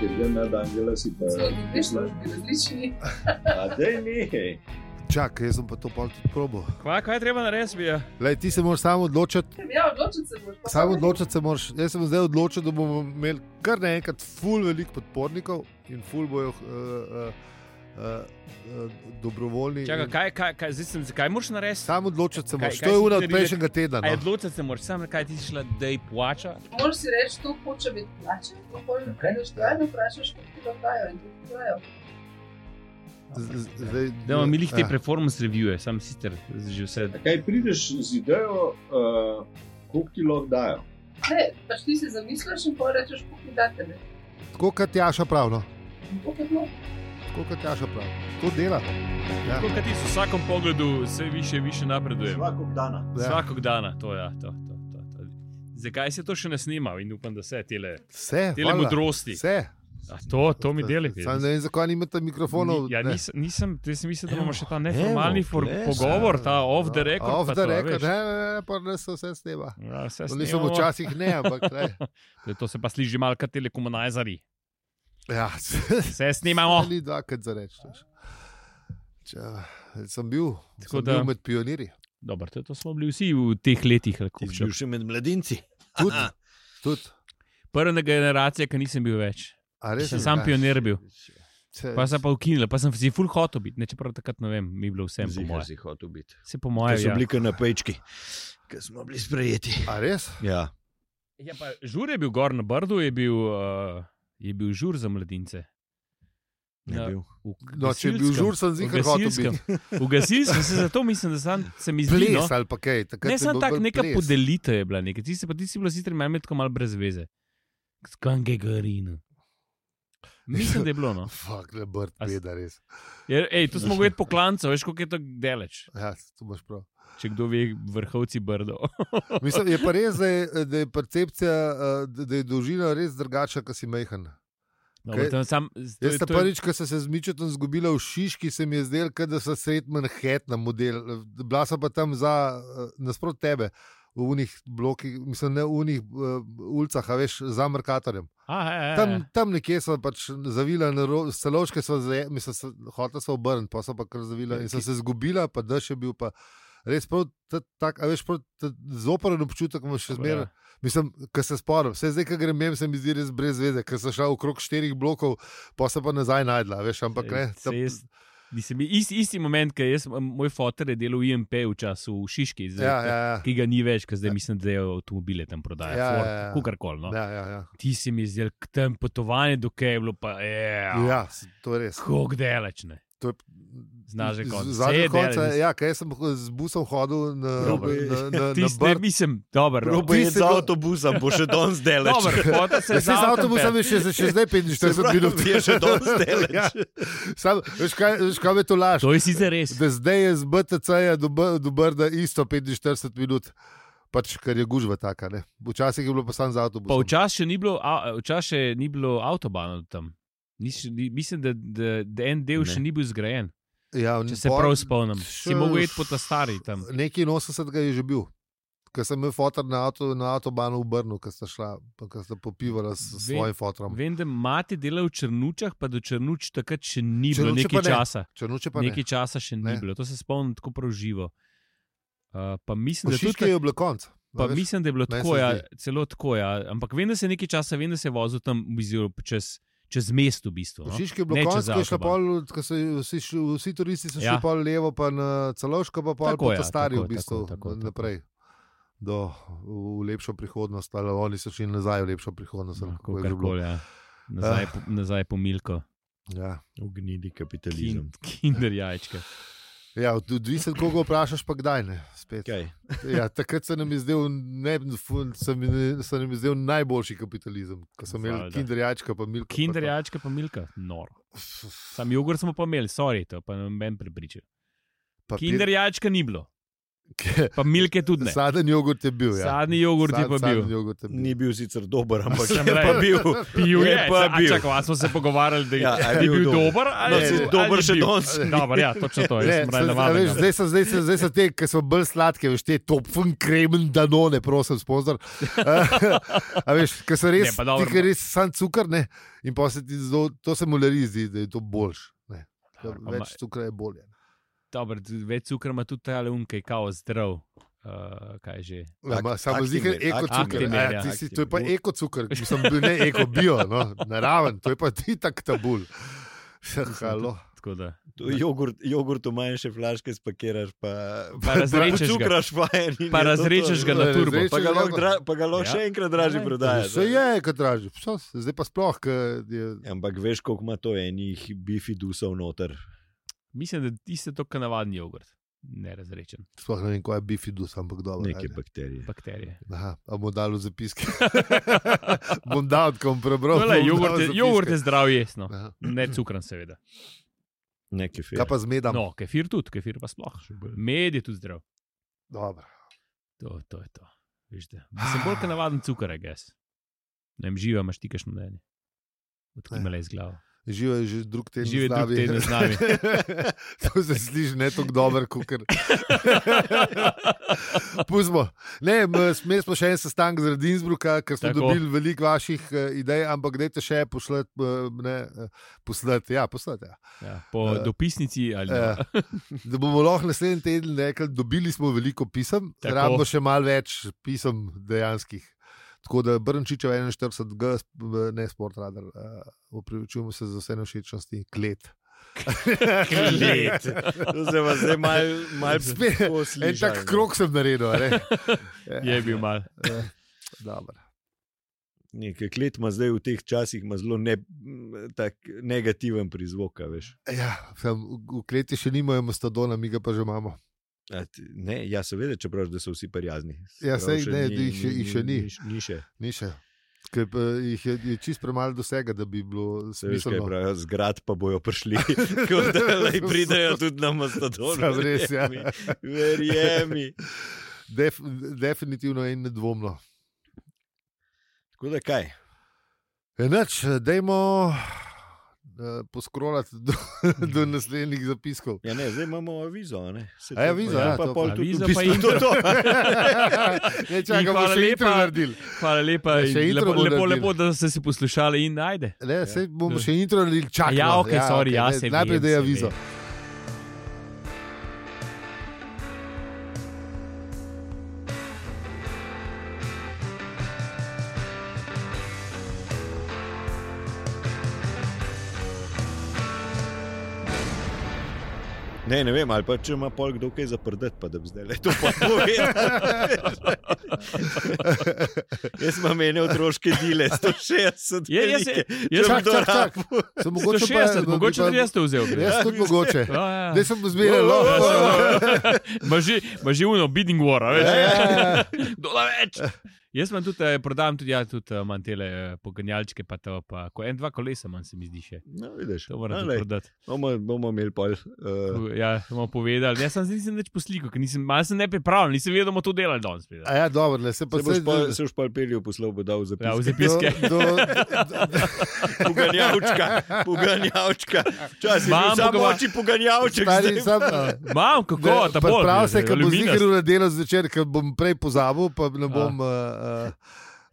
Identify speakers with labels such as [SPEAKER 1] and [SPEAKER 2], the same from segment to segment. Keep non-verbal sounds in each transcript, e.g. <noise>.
[SPEAKER 1] že nad Angela si pa prišla.
[SPEAKER 2] različni.
[SPEAKER 1] A dej nehaj.
[SPEAKER 3] Čakaj, jaz sem pa to pol tudi probo.
[SPEAKER 4] Kva, kaj je treba narediti, bi jo?
[SPEAKER 3] Lej, ti se moraš samo odločiti,
[SPEAKER 2] Ja, odločiti se moraš. pa
[SPEAKER 3] samo
[SPEAKER 2] pametno.
[SPEAKER 3] odločiti se moraš. Jaz sem zdaj odločil, da bomo imeli kar naenkrat ful veliko podpornikov in ful bojo uh, uh, uh, uh, dobrovoljni.
[SPEAKER 4] Čaka,
[SPEAKER 3] in-
[SPEAKER 4] kaj, kaj, kaj, zdaj sem, se- kaj moraš narediti?
[SPEAKER 3] Samo odločiti se
[SPEAKER 4] Kaj-
[SPEAKER 3] moraš.
[SPEAKER 4] kaj
[SPEAKER 3] To je
[SPEAKER 4] si
[SPEAKER 3] ura od
[SPEAKER 4] naredila?
[SPEAKER 3] prejšnjega tedna.
[SPEAKER 4] A je
[SPEAKER 3] No.
[SPEAKER 4] odločiti se moraš, sam kaj ti si šla, da ji plača.
[SPEAKER 2] Moraš si reči, to hoče biti plačen, to hoče biti
[SPEAKER 4] Okej.
[SPEAKER 2] plačen, vprašaš, kako ga dajo in kako dajo.
[SPEAKER 3] Z- z- zdaj-
[SPEAKER 4] Da imamo mi lih te
[SPEAKER 3] Ah.
[SPEAKER 4] performance reviewe, sam sicer že vse.
[SPEAKER 1] A Kaj prideš z idejo, uh, koliko ti lahko dajo?
[SPEAKER 2] Ne, pač ti si zamisliš in pa rečeš, kako da tebe.
[SPEAKER 3] Tako kot Jaša pravno.
[SPEAKER 2] In to kot no.
[SPEAKER 3] Tako kot Jaša pravno. To dela. Ja.
[SPEAKER 4] Kot ti v vsakem pogledu vse više in više napredujem.
[SPEAKER 1] Vsakog dana.
[SPEAKER 3] Ja.
[SPEAKER 4] Vsakog dana, to je. Ja, to, to, to, to. Zakaj se to še ne snima in upam, da se tele,
[SPEAKER 3] Vse,
[SPEAKER 4] tele
[SPEAKER 3] hvala.
[SPEAKER 4] modrosti.
[SPEAKER 3] Vse.
[SPEAKER 4] A to, to mi deli.
[SPEAKER 3] Samo ne vem, zakaj nimate mikrofonov.
[SPEAKER 4] Ja,
[SPEAKER 3] ne.
[SPEAKER 4] nisem, nisem, te sem mislil, da imamo
[SPEAKER 3] Evo,
[SPEAKER 4] še ta neformalni
[SPEAKER 3] evo,
[SPEAKER 4] for,
[SPEAKER 3] res,
[SPEAKER 4] pogovor,
[SPEAKER 3] ja.
[SPEAKER 4] ta off the
[SPEAKER 3] Ja,
[SPEAKER 4] record.
[SPEAKER 3] Off
[SPEAKER 4] pa
[SPEAKER 3] the
[SPEAKER 4] to, a
[SPEAKER 3] record,
[SPEAKER 4] veš.
[SPEAKER 3] ne, ne, ne, pa ne se vse snema.
[SPEAKER 4] Ja, vse
[SPEAKER 3] No, Nisem
[SPEAKER 4] snemamo.
[SPEAKER 3] včasih ne, ampak
[SPEAKER 4] <laughs>
[SPEAKER 3] ne.
[SPEAKER 4] Da, To se pa sliši malo kot telekomunizari.
[SPEAKER 3] Ja, <laughs>
[SPEAKER 4] Vse snimamo.
[SPEAKER 3] Ni dvakrat za reči. Če, sem bil,
[SPEAKER 4] Tako
[SPEAKER 3] sem
[SPEAKER 4] da-
[SPEAKER 3] bil med pionirji.
[SPEAKER 4] Dobro, to, to smo bili vsi v teh letih. ali kako
[SPEAKER 5] Ti si
[SPEAKER 4] že.
[SPEAKER 5] bil še med mladinci.
[SPEAKER 3] Tudi, tudi.
[SPEAKER 4] Prva generacija, ki nisem bil več.
[SPEAKER 3] A res
[SPEAKER 4] Sem
[SPEAKER 3] ne?
[SPEAKER 4] sam
[SPEAKER 3] Ja.
[SPEAKER 4] pionir bil.
[SPEAKER 3] Se-
[SPEAKER 4] Pa sem pa ukinil, pa sem si full hotel biti, ne čeprav takrat ne vem, mi je bilo vsem po
[SPEAKER 5] Zihar
[SPEAKER 4] mojem.
[SPEAKER 5] si hotel biti.
[SPEAKER 4] Se po
[SPEAKER 5] Kaj
[SPEAKER 4] mojem,
[SPEAKER 5] so
[SPEAKER 4] ja.
[SPEAKER 5] bili kar na pečki, ki smo bili sprejeti.
[SPEAKER 3] A res?
[SPEAKER 5] Ja.
[SPEAKER 4] ja pa, žur je bil gor na brdu, je bil, uh, je bil žur za mladince.
[SPEAKER 5] Ne
[SPEAKER 4] Na-
[SPEAKER 5] bil.
[SPEAKER 4] v
[SPEAKER 3] No, če je bil
[SPEAKER 4] gasilskem.
[SPEAKER 3] žur, sem
[SPEAKER 4] V
[SPEAKER 3] zihar hotel
[SPEAKER 4] gasilskem.
[SPEAKER 3] biti.
[SPEAKER 4] V gasilskem se zato mislim, da sam, se mi zdi. No,
[SPEAKER 3] Ples ali pa kaj. takrat
[SPEAKER 4] ne,
[SPEAKER 3] je
[SPEAKER 4] samo
[SPEAKER 3] bil
[SPEAKER 4] tako
[SPEAKER 3] bolj
[SPEAKER 4] neka
[SPEAKER 3] ples.
[SPEAKER 4] podelitev je bila, nekaj. ti si pa ti si bila sicer meni tako malo brez veze. Skange garino. Mislim, da je
[SPEAKER 3] <laughs>
[SPEAKER 4] bilo. No.
[SPEAKER 3] Fak, ne brd,
[SPEAKER 4] A s-
[SPEAKER 3] peda res.
[SPEAKER 4] Jer, ej, to smo gledali po klancu, veš, koliko je to deleč.
[SPEAKER 3] Ja, tu imaš prav.
[SPEAKER 4] Če kdo ve, vrhovci brdo. <laughs>
[SPEAKER 3] Mislim, je pa res, da je, da je percepcija, eh, da da je dolžina res drugačna, kot si mehen.
[SPEAKER 4] No,
[SPEAKER 3] Kaj-
[SPEAKER 4] okay. sam, to,
[SPEAKER 3] Jaz
[SPEAKER 4] je-
[SPEAKER 3] sem
[SPEAKER 4] to, je-
[SPEAKER 3] prvič, ko sem se z Mičetom zgubila v Šiški, se mi je zdel, kot da sem sred Manhattna model. Bila sem pa tam za eh, nasprot tebe. V unih blokih, mislim, ne v unih uh, ulicah, a veš, za Merkatorjem.
[SPEAKER 4] Aha, ja, ja, ja.
[SPEAKER 3] Tam, tam nekje so pač zavila, celoške so, zaje- mislim, so hotela so obrniti, pa so pa kar zavila in so se zgubila, pa daš je bil pa. Res prav, ta- tak, a veš, prav, ta zoperen občutek imaš še
[SPEAKER 4] Dobro, ja.
[SPEAKER 3] zmeraj. Mislim, ko se spomnim, vse zdaj, ko grem, mem, se mi zdi res brez veze, ker sem šel okrog štirih blokov, pa se pa nazaj najdla, veš, ampak ne.
[SPEAKER 4] Se- se jaz- Nisem, isti, isti moment, ki jaz, moj fotor je delal v IMP v času v Šiški, zdaj,
[SPEAKER 3] ja, ja, ja.
[SPEAKER 4] ki ga ni več, ker zdaj mislim, da je avtomobile tam
[SPEAKER 3] Ja,
[SPEAKER 4] prodaja, ja, Ford,
[SPEAKER 3] ja, ja.
[SPEAKER 4] ja, ja. kol, no. ja.
[SPEAKER 3] Ja, ja, ja.
[SPEAKER 4] Ti si mi zdel, k tem potovanje do Keblu, pa je. Ja.
[SPEAKER 3] ja, s- to je res.
[SPEAKER 4] Kako delač ne.
[SPEAKER 3] To je
[SPEAKER 4] Znaš že
[SPEAKER 3] z-
[SPEAKER 4] konec.
[SPEAKER 3] z-
[SPEAKER 4] Saj
[SPEAKER 3] Zadnji
[SPEAKER 4] je
[SPEAKER 3] konec,
[SPEAKER 4] delal,
[SPEAKER 3] ja, kaj sem ho- z busom hodil na,
[SPEAKER 5] Probaj.
[SPEAKER 3] na,
[SPEAKER 4] <laughs>
[SPEAKER 3] na, na, na
[SPEAKER 4] Tisti,
[SPEAKER 3] Brd.
[SPEAKER 4] mislim, dobro. no.
[SPEAKER 3] Probaj
[SPEAKER 5] Probaj
[SPEAKER 3] je
[SPEAKER 5] je
[SPEAKER 3] z
[SPEAKER 5] z avtobusa, bo še danes <laughs> delač.
[SPEAKER 4] Dobro, fotor se
[SPEAKER 3] Ja,
[SPEAKER 4] je
[SPEAKER 3] saj Z avtobusom je še, še
[SPEAKER 4] <laughs>
[SPEAKER 3] zdaj 45 minut.
[SPEAKER 5] Je še danes
[SPEAKER 3] <laughs>
[SPEAKER 5] delač.
[SPEAKER 3] Ja. Sam, veš, kaj, veš, kaj me to laž?
[SPEAKER 4] To je sicer res.
[SPEAKER 3] Da zdaj je z BTC-ja do, B- do Brda isto 45 minut, pač ker je gužva taka. Ne? Včasih je bilo pa sam za
[SPEAKER 4] Pa
[SPEAKER 3] avtobus.
[SPEAKER 4] včasih še ni bilo, a- včasih še ni bilo avtobana tam. Ni, še- ni, mislim, da, da, da en del ne. še
[SPEAKER 5] Ne.
[SPEAKER 4] ni bil zgrajen,
[SPEAKER 3] Ja,
[SPEAKER 4] če se
[SPEAKER 3] pol-
[SPEAKER 4] prav spomnim. Si
[SPEAKER 3] še-
[SPEAKER 4] mogel iti po ta stari tam.
[SPEAKER 3] Nekaj 80 je že bil. Ker sem imel fotor na, avto, na avtobanu v Brnu, ker sta šla, ker sta popivala s s
[SPEAKER 4] Ve-
[SPEAKER 3] svojim fotorom.
[SPEAKER 4] Vem, da mati dela v Črnučah, pa do Črnuč takrat še ni bilo
[SPEAKER 3] Črnuče
[SPEAKER 4] nekaj
[SPEAKER 3] pa ne.
[SPEAKER 4] časa.
[SPEAKER 3] Če noče pa
[SPEAKER 4] Nekaj
[SPEAKER 3] nekaj.
[SPEAKER 4] časa še ni
[SPEAKER 3] Ne.
[SPEAKER 4] bilo, to se spomnim tako prav živo. Uh, pa mislim, da,
[SPEAKER 3] Pošiljke
[SPEAKER 4] tudi,
[SPEAKER 3] je bilo konc. a
[SPEAKER 4] pa
[SPEAKER 3] veš.
[SPEAKER 4] mislim, da je bilo
[SPEAKER 3] Meni se
[SPEAKER 4] tako, ja,
[SPEAKER 3] zdi.
[SPEAKER 4] celo tako. Ja. Ampak vem, da se je nekaj časa, vem, da se je vozil tam v bistvu čez, čez mesto. V bistvu, no.
[SPEAKER 3] Pošiljke je bilo
[SPEAKER 4] Ne čez
[SPEAKER 3] konc, ko je šla
[SPEAKER 4] avtoban.
[SPEAKER 3] pol, ko so vsi, šli- vsi turisti so šli ja.
[SPEAKER 4] Ja.
[SPEAKER 3] pol levo, pa na celoško, pa pol
[SPEAKER 4] Tako
[SPEAKER 3] po
[SPEAKER 4] ja,
[SPEAKER 3] ja, stari v
[SPEAKER 4] tako,
[SPEAKER 3] bistvu
[SPEAKER 4] tako, tako, tako.
[SPEAKER 3] naprej. Do, v lepšo prihodnost, ali oni so šli nazaj v lepšo prihodnost. ali
[SPEAKER 4] No,
[SPEAKER 3] kako je že bilo.
[SPEAKER 4] kakorkoli, ja. nazaj, po, nazaj po Milko,
[SPEAKER 3] Ja.
[SPEAKER 5] Ugnidi kapitalizem.
[SPEAKER 4] Kin, kinder jajčke.
[SPEAKER 3] Ja, od- odvisno, koga vprašaš, pa kdaj ne. spet.
[SPEAKER 5] Kaj?
[SPEAKER 3] Ja, takrat se nam je zdel, ne, ful- se mi- se nam je zdel najboljši kapitalizem, ko smo imeli
[SPEAKER 4] Valjda.
[SPEAKER 3] kinderjačka, pa milka.
[SPEAKER 4] Kinder jajčke pa Milka, noro.
[SPEAKER 3] <laughs>
[SPEAKER 4] Sam jogurt smo pa imeli, sorry, to pa ne bom pripričal. Kinder jajčka ni bilo. Pa milke tudi ne.
[SPEAKER 3] Saden jogurt je bil. Ja.
[SPEAKER 4] Sadni jogurt je
[SPEAKER 3] Sad-
[SPEAKER 4] pa
[SPEAKER 3] saden
[SPEAKER 4] bil.
[SPEAKER 3] jogurt je bil.
[SPEAKER 5] Ni bil sicer dober, ampak
[SPEAKER 4] Sem
[SPEAKER 5] je pa
[SPEAKER 4] rekel.
[SPEAKER 5] bil.
[SPEAKER 4] Pil
[SPEAKER 5] Je
[SPEAKER 4] je,
[SPEAKER 5] pa
[SPEAKER 4] pa
[SPEAKER 5] bil.
[SPEAKER 4] Čakaj, a smo se pogovarjali, da
[SPEAKER 5] Ja,
[SPEAKER 4] je,
[SPEAKER 5] a
[SPEAKER 4] <laughs> da je bil dober. ali
[SPEAKER 5] No,
[SPEAKER 4] je-
[SPEAKER 5] si
[SPEAKER 4] ali
[SPEAKER 5] dober
[SPEAKER 4] je
[SPEAKER 5] še
[SPEAKER 4] bil?
[SPEAKER 5] danes.
[SPEAKER 4] Dober, ja, točno to. Jaz
[SPEAKER 3] Ne,
[SPEAKER 4] sem
[SPEAKER 3] sad- a veš,
[SPEAKER 4] raje navaden. ja.
[SPEAKER 3] zdaj so, zdaj, so, zdaj so te, ki so bolj sladke, veš, te topfen kremen, danone, prosim, sponzor. <laughs> A veš, ki so res,
[SPEAKER 4] Ne, pa dobro. no.
[SPEAKER 3] ti, ki res sam cukor, ne, in pa se ti zdo, to se mu le zdi, da je to boljš. Ne. Da
[SPEAKER 4] Dobro, pa
[SPEAKER 3] Več cukra je bolje.
[SPEAKER 4] Dobro, tudi več cukra ima tudi um, ta unke, kao zdrav. Uh, kaj že?
[SPEAKER 3] Ja,
[SPEAKER 5] Ak-
[SPEAKER 3] ma, Samo zdi se,
[SPEAKER 5] Actimel,
[SPEAKER 3] eko cukor.
[SPEAKER 4] Actimel,
[SPEAKER 3] Ja,
[SPEAKER 4] ja,
[SPEAKER 3] ti si- to je pa
[SPEAKER 5] Actimel.
[SPEAKER 3] eko cukor, ki sem bil ne eko bio, no, naraven, to je pa ti tak tabul. Halo.
[SPEAKER 4] Tako da.
[SPEAKER 5] Jogurt, jogurt v manjše flaške spakiraš, pa,
[SPEAKER 1] <laughs>
[SPEAKER 4] Pa razredčeš ga.
[SPEAKER 5] Cukraš pa en. in
[SPEAKER 4] Pa
[SPEAKER 5] je to to.
[SPEAKER 4] razredčeš ga na turbo.
[SPEAKER 5] Pa ga lahko, dra, pa ga lahko
[SPEAKER 4] Ja.
[SPEAKER 5] ja. še enkrat dražje
[SPEAKER 4] Ja.
[SPEAKER 5] prodajaš.
[SPEAKER 3] Vse je, kot draži, Psa, zdaj pa sploh. ke Je,
[SPEAKER 5] Ampak veš, koliko ima to enih bifidusov noter.
[SPEAKER 4] Mislim, da tiste to, kar navadni jogurt. Ne razrečen,
[SPEAKER 3] Sploh ne vem, kaj je bifidus, ampak dobro.
[SPEAKER 5] Neke
[SPEAKER 3] ajde.
[SPEAKER 5] bakterije.
[SPEAKER 4] bakterije.
[SPEAKER 3] Aha, a bom dal v zapiske. <laughs> bom dal, ko bom prebral.
[SPEAKER 4] No,
[SPEAKER 3] bom dal
[SPEAKER 4] le,
[SPEAKER 3] v
[SPEAKER 4] jogurt, je,
[SPEAKER 3] zapiske.
[SPEAKER 4] jogurt je zdrav, jesno.
[SPEAKER 3] Aha.
[SPEAKER 4] Ne cukran, seveda.
[SPEAKER 5] Neke fede.
[SPEAKER 3] Kaj pa zmedam?
[SPEAKER 4] No, kefir tudi, kefir pa sploh. Med je tudi zdrav.
[SPEAKER 3] Dobro.
[SPEAKER 4] To, to je to. Veš, da. Sem bolj kot navaden cukor, gess. Ne vem, živa imaš ti kašno mnenje. Odkimele iz glave.
[SPEAKER 3] Živo je že drug teden.
[SPEAKER 4] Živo je
[SPEAKER 3] z
[SPEAKER 4] drug
[SPEAKER 3] nami.
[SPEAKER 4] teden z nami.
[SPEAKER 3] <laughs> to se sliši ne tako dobro, kot kar. <laughs> Pustimo. Ne, m, imeli smo še en sestanek z Redinsbruka, ker smo
[SPEAKER 4] Tako.
[SPEAKER 3] Tako. dobili veliko vaših eh, idej, ampak dajte še poslati, eh, ne, eh, poslati, ja, poslati. Ja.
[SPEAKER 4] Ja, po
[SPEAKER 3] Eh,
[SPEAKER 4] dopisnici
[SPEAKER 3] Eh,
[SPEAKER 4] ali ja.
[SPEAKER 3] <laughs> da bomo lahko naslednji teden rekli, dobili smo veliko pisem,
[SPEAKER 4] Tako.
[SPEAKER 3] rabimo še malo več pisem dejanskih. Tako da Brnčičev 41G, sp- ne sport radar, eh, upravičujemo se za vse nevšečnosti, klet. <laughs>
[SPEAKER 5] Klet. To se vas zdaj malo mal
[SPEAKER 3] Spet En tak krok sem naredil. a ne. Ja,
[SPEAKER 4] je bil mal.
[SPEAKER 3] Eh, dobro.
[SPEAKER 5] Nekaj klet ima zdaj v teh časih ima zelo ne, m, tak negativen prizvok, a veš.
[SPEAKER 3] Ja, sem, v v kleti še nimajo mastodona, mi ga pa že imamo.
[SPEAKER 5] A ti- Ne, ja, seveda, čeprav da so vsi prijazni.
[SPEAKER 3] Ja,
[SPEAKER 5] Čeprav
[SPEAKER 3] saj
[SPEAKER 5] še
[SPEAKER 3] ne, jih še- jih še ni.
[SPEAKER 5] Ni, ni še.
[SPEAKER 3] Ni še. Ker pa jih je, je čist premalo dosega, da bi bilo
[SPEAKER 5] Se veš, kaj
[SPEAKER 3] smiselno.
[SPEAKER 5] pravijo, zgrad pa bojo
[SPEAKER 3] <laughs>
[SPEAKER 5] prišli. <laughs> Kot da lej pridejo tudi na Mastodon.
[SPEAKER 3] Sam res, ja.
[SPEAKER 5] Verjemi.
[SPEAKER 3] Def, definitivno in nedvomno.
[SPEAKER 5] Tako da kaj?
[SPEAKER 3] Enač, dajmo poskrolati do, do naslednjih zapiskov.
[SPEAKER 5] Ja, ne, zdaj imamo avizo. a Ne? Se
[SPEAKER 3] A ja,
[SPEAKER 5] to
[SPEAKER 3] avizo,
[SPEAKER 5] pa-
[SPEAKER 3] ja,
[SPEAKER 5] pa
[SPEAKER 3] to
[SPEAKER 5] pol
[SPEAKER 3] pa.
[SPEAKER 5] tudi
[SPEAKER 4] Avizo
[SPEAKER 5] v bistvu
[SPEAKER 4] pa
[SPEAKER 5] to, to.
[SPEAKER 3] ne, čakaj,
[SPEAKER 4] In
[SPEAKER 3] bomo
[SPEAKER 4] hvala
[SPEAKER 3] še
[SPEAKER 4] lepa.
[SPEAKER 3] intro naredili.
[SPEAKER 4] Hvala lepa,
[SPEAKER 3] Ja, še intro
[SPEAKER 4] lepo,
[SPEAKER 3] bomo
[SPEAKER 4] lepo,
[SPEAKER 3] naredili.
[SPEAKER 4] lepo, da ste si poslušali in najde.
[SPEAKER 3] Ne, sej bomo
[SPEAKER 4] Ja.
[SPEAKER 3] še intro naredili, čakaj.
[SPEAKER 4] Ja,
[SPEAKER 3] no,
[SPEAKER 4] ok, sorry,
[SPEAKER 3] ok,
[SPEAKER 4] ja,
[SPEAKER 3] ne,
[SPEAKER 4] se
[SPEAKER 3] Najprej
[SPEAKER 4] vem,
[SPEAKER 3] da je
[SPEAKER 4] se
[SPEAKER 3] avizo.
[SPEAKER 4] vem.
[SPEAKER 5] Ne, ne vem, ali pa če ima pol kdo kaj zaprdati, pa da bi zdaj le to pa povedal. <laughs> Jaz imam ene otroške dile, 160.
[SPEAKER 4] Je, jaz se-
[SPEAKER 5] velike.
[SPEAKER 4] jaz-
[SPEAKER 5] Če
[SPEAKER 3] Čak,
[SPEAKER 5] bom kdo
[SPEAKER 3] čak, čak.
[SPEAKER 5] rabil.
[SPEAKER 3] Sem mogoče pa-
[SPEAKER 4] 160,
[SPEAKER 3] bi
[SPEAKER 4] mogoče
[SPEAKER 3] pa-
[SPEAKER 4] tudi jaz ste vzel.
[SPEAKER 3] Jaz tudi mogoče.
[SPEAKER 4] Ja, ja.
[SPEAKER 3] Ne, sem zmeraj. no.
[SPEAKER 4] Ja, saj, no. <laughs> Ma že- Ma že uno, bidding war, a veš.
[SPEAKER 3] Ja, ja, ja.
[SPEAKER 4] Dola več. <laughs> Jaz imam tudi, eh, prodajam tudi, ja, tudi eh, imam tele poganjalčke, pa to, pa ko en, dva kolesa manj se mi zdi še.
[SPEAKER 5] No, vidiš,
[SPEAKER 4] To moram
[SPEAKER 5] no,
[SPEAKER 4] tudi
[SPEAKER 5] lej,
[SPEAKER 4] prodati.
[SPEAKER 5] bomo, bomo imeli pol. Uh,
[SPEAKER 4] Ja, smo povedali. Jaz sem se nisem več poslikal, ker nisem, malo sem nepripravljen, nisem vedel, da bomo to delali danes. spet.
[SPEAKER 3] A ja, dobro, le se pa
[SPEAKER 5] se boš
[SPEAKER 3] saj-
[SPEAKER 5] pol, se boš pol pelil, poslal bo dal zapis.
[SPEAKER 4] Ja, v
[SPEAKER 3] do-
[SPEAKER 4] zapiske.
[SPEAKER 3] do-
[SPEAKER 4] <laughs>
[SPEAKER 5] Poganjavčka, poganjavčka.
[SPEAKER 3] Ja,
[SPEAKER 5] Včasih je
[SPEAKER 4] Imam
[SPEAKER 5] bil samo
[SPEAKER 4] pogova-
[SPEAKER 5] oči poganjavček.
[SPEAKER 3] Stari,
[SPEAKER 5] zdaj
[SPEAKER 3] sam,
[SPEAKER 4] Mam, kako,
[SPEAKER 3] ne,
[SPEAKER 4] ta bo.
[SPEAKER 3] Prav se, ker bom
[SPEAKER 4] aluminast.
[SPEAKER 3] zigral na delo zvečer, ker bom prej pozabil, pa ne bom, uh,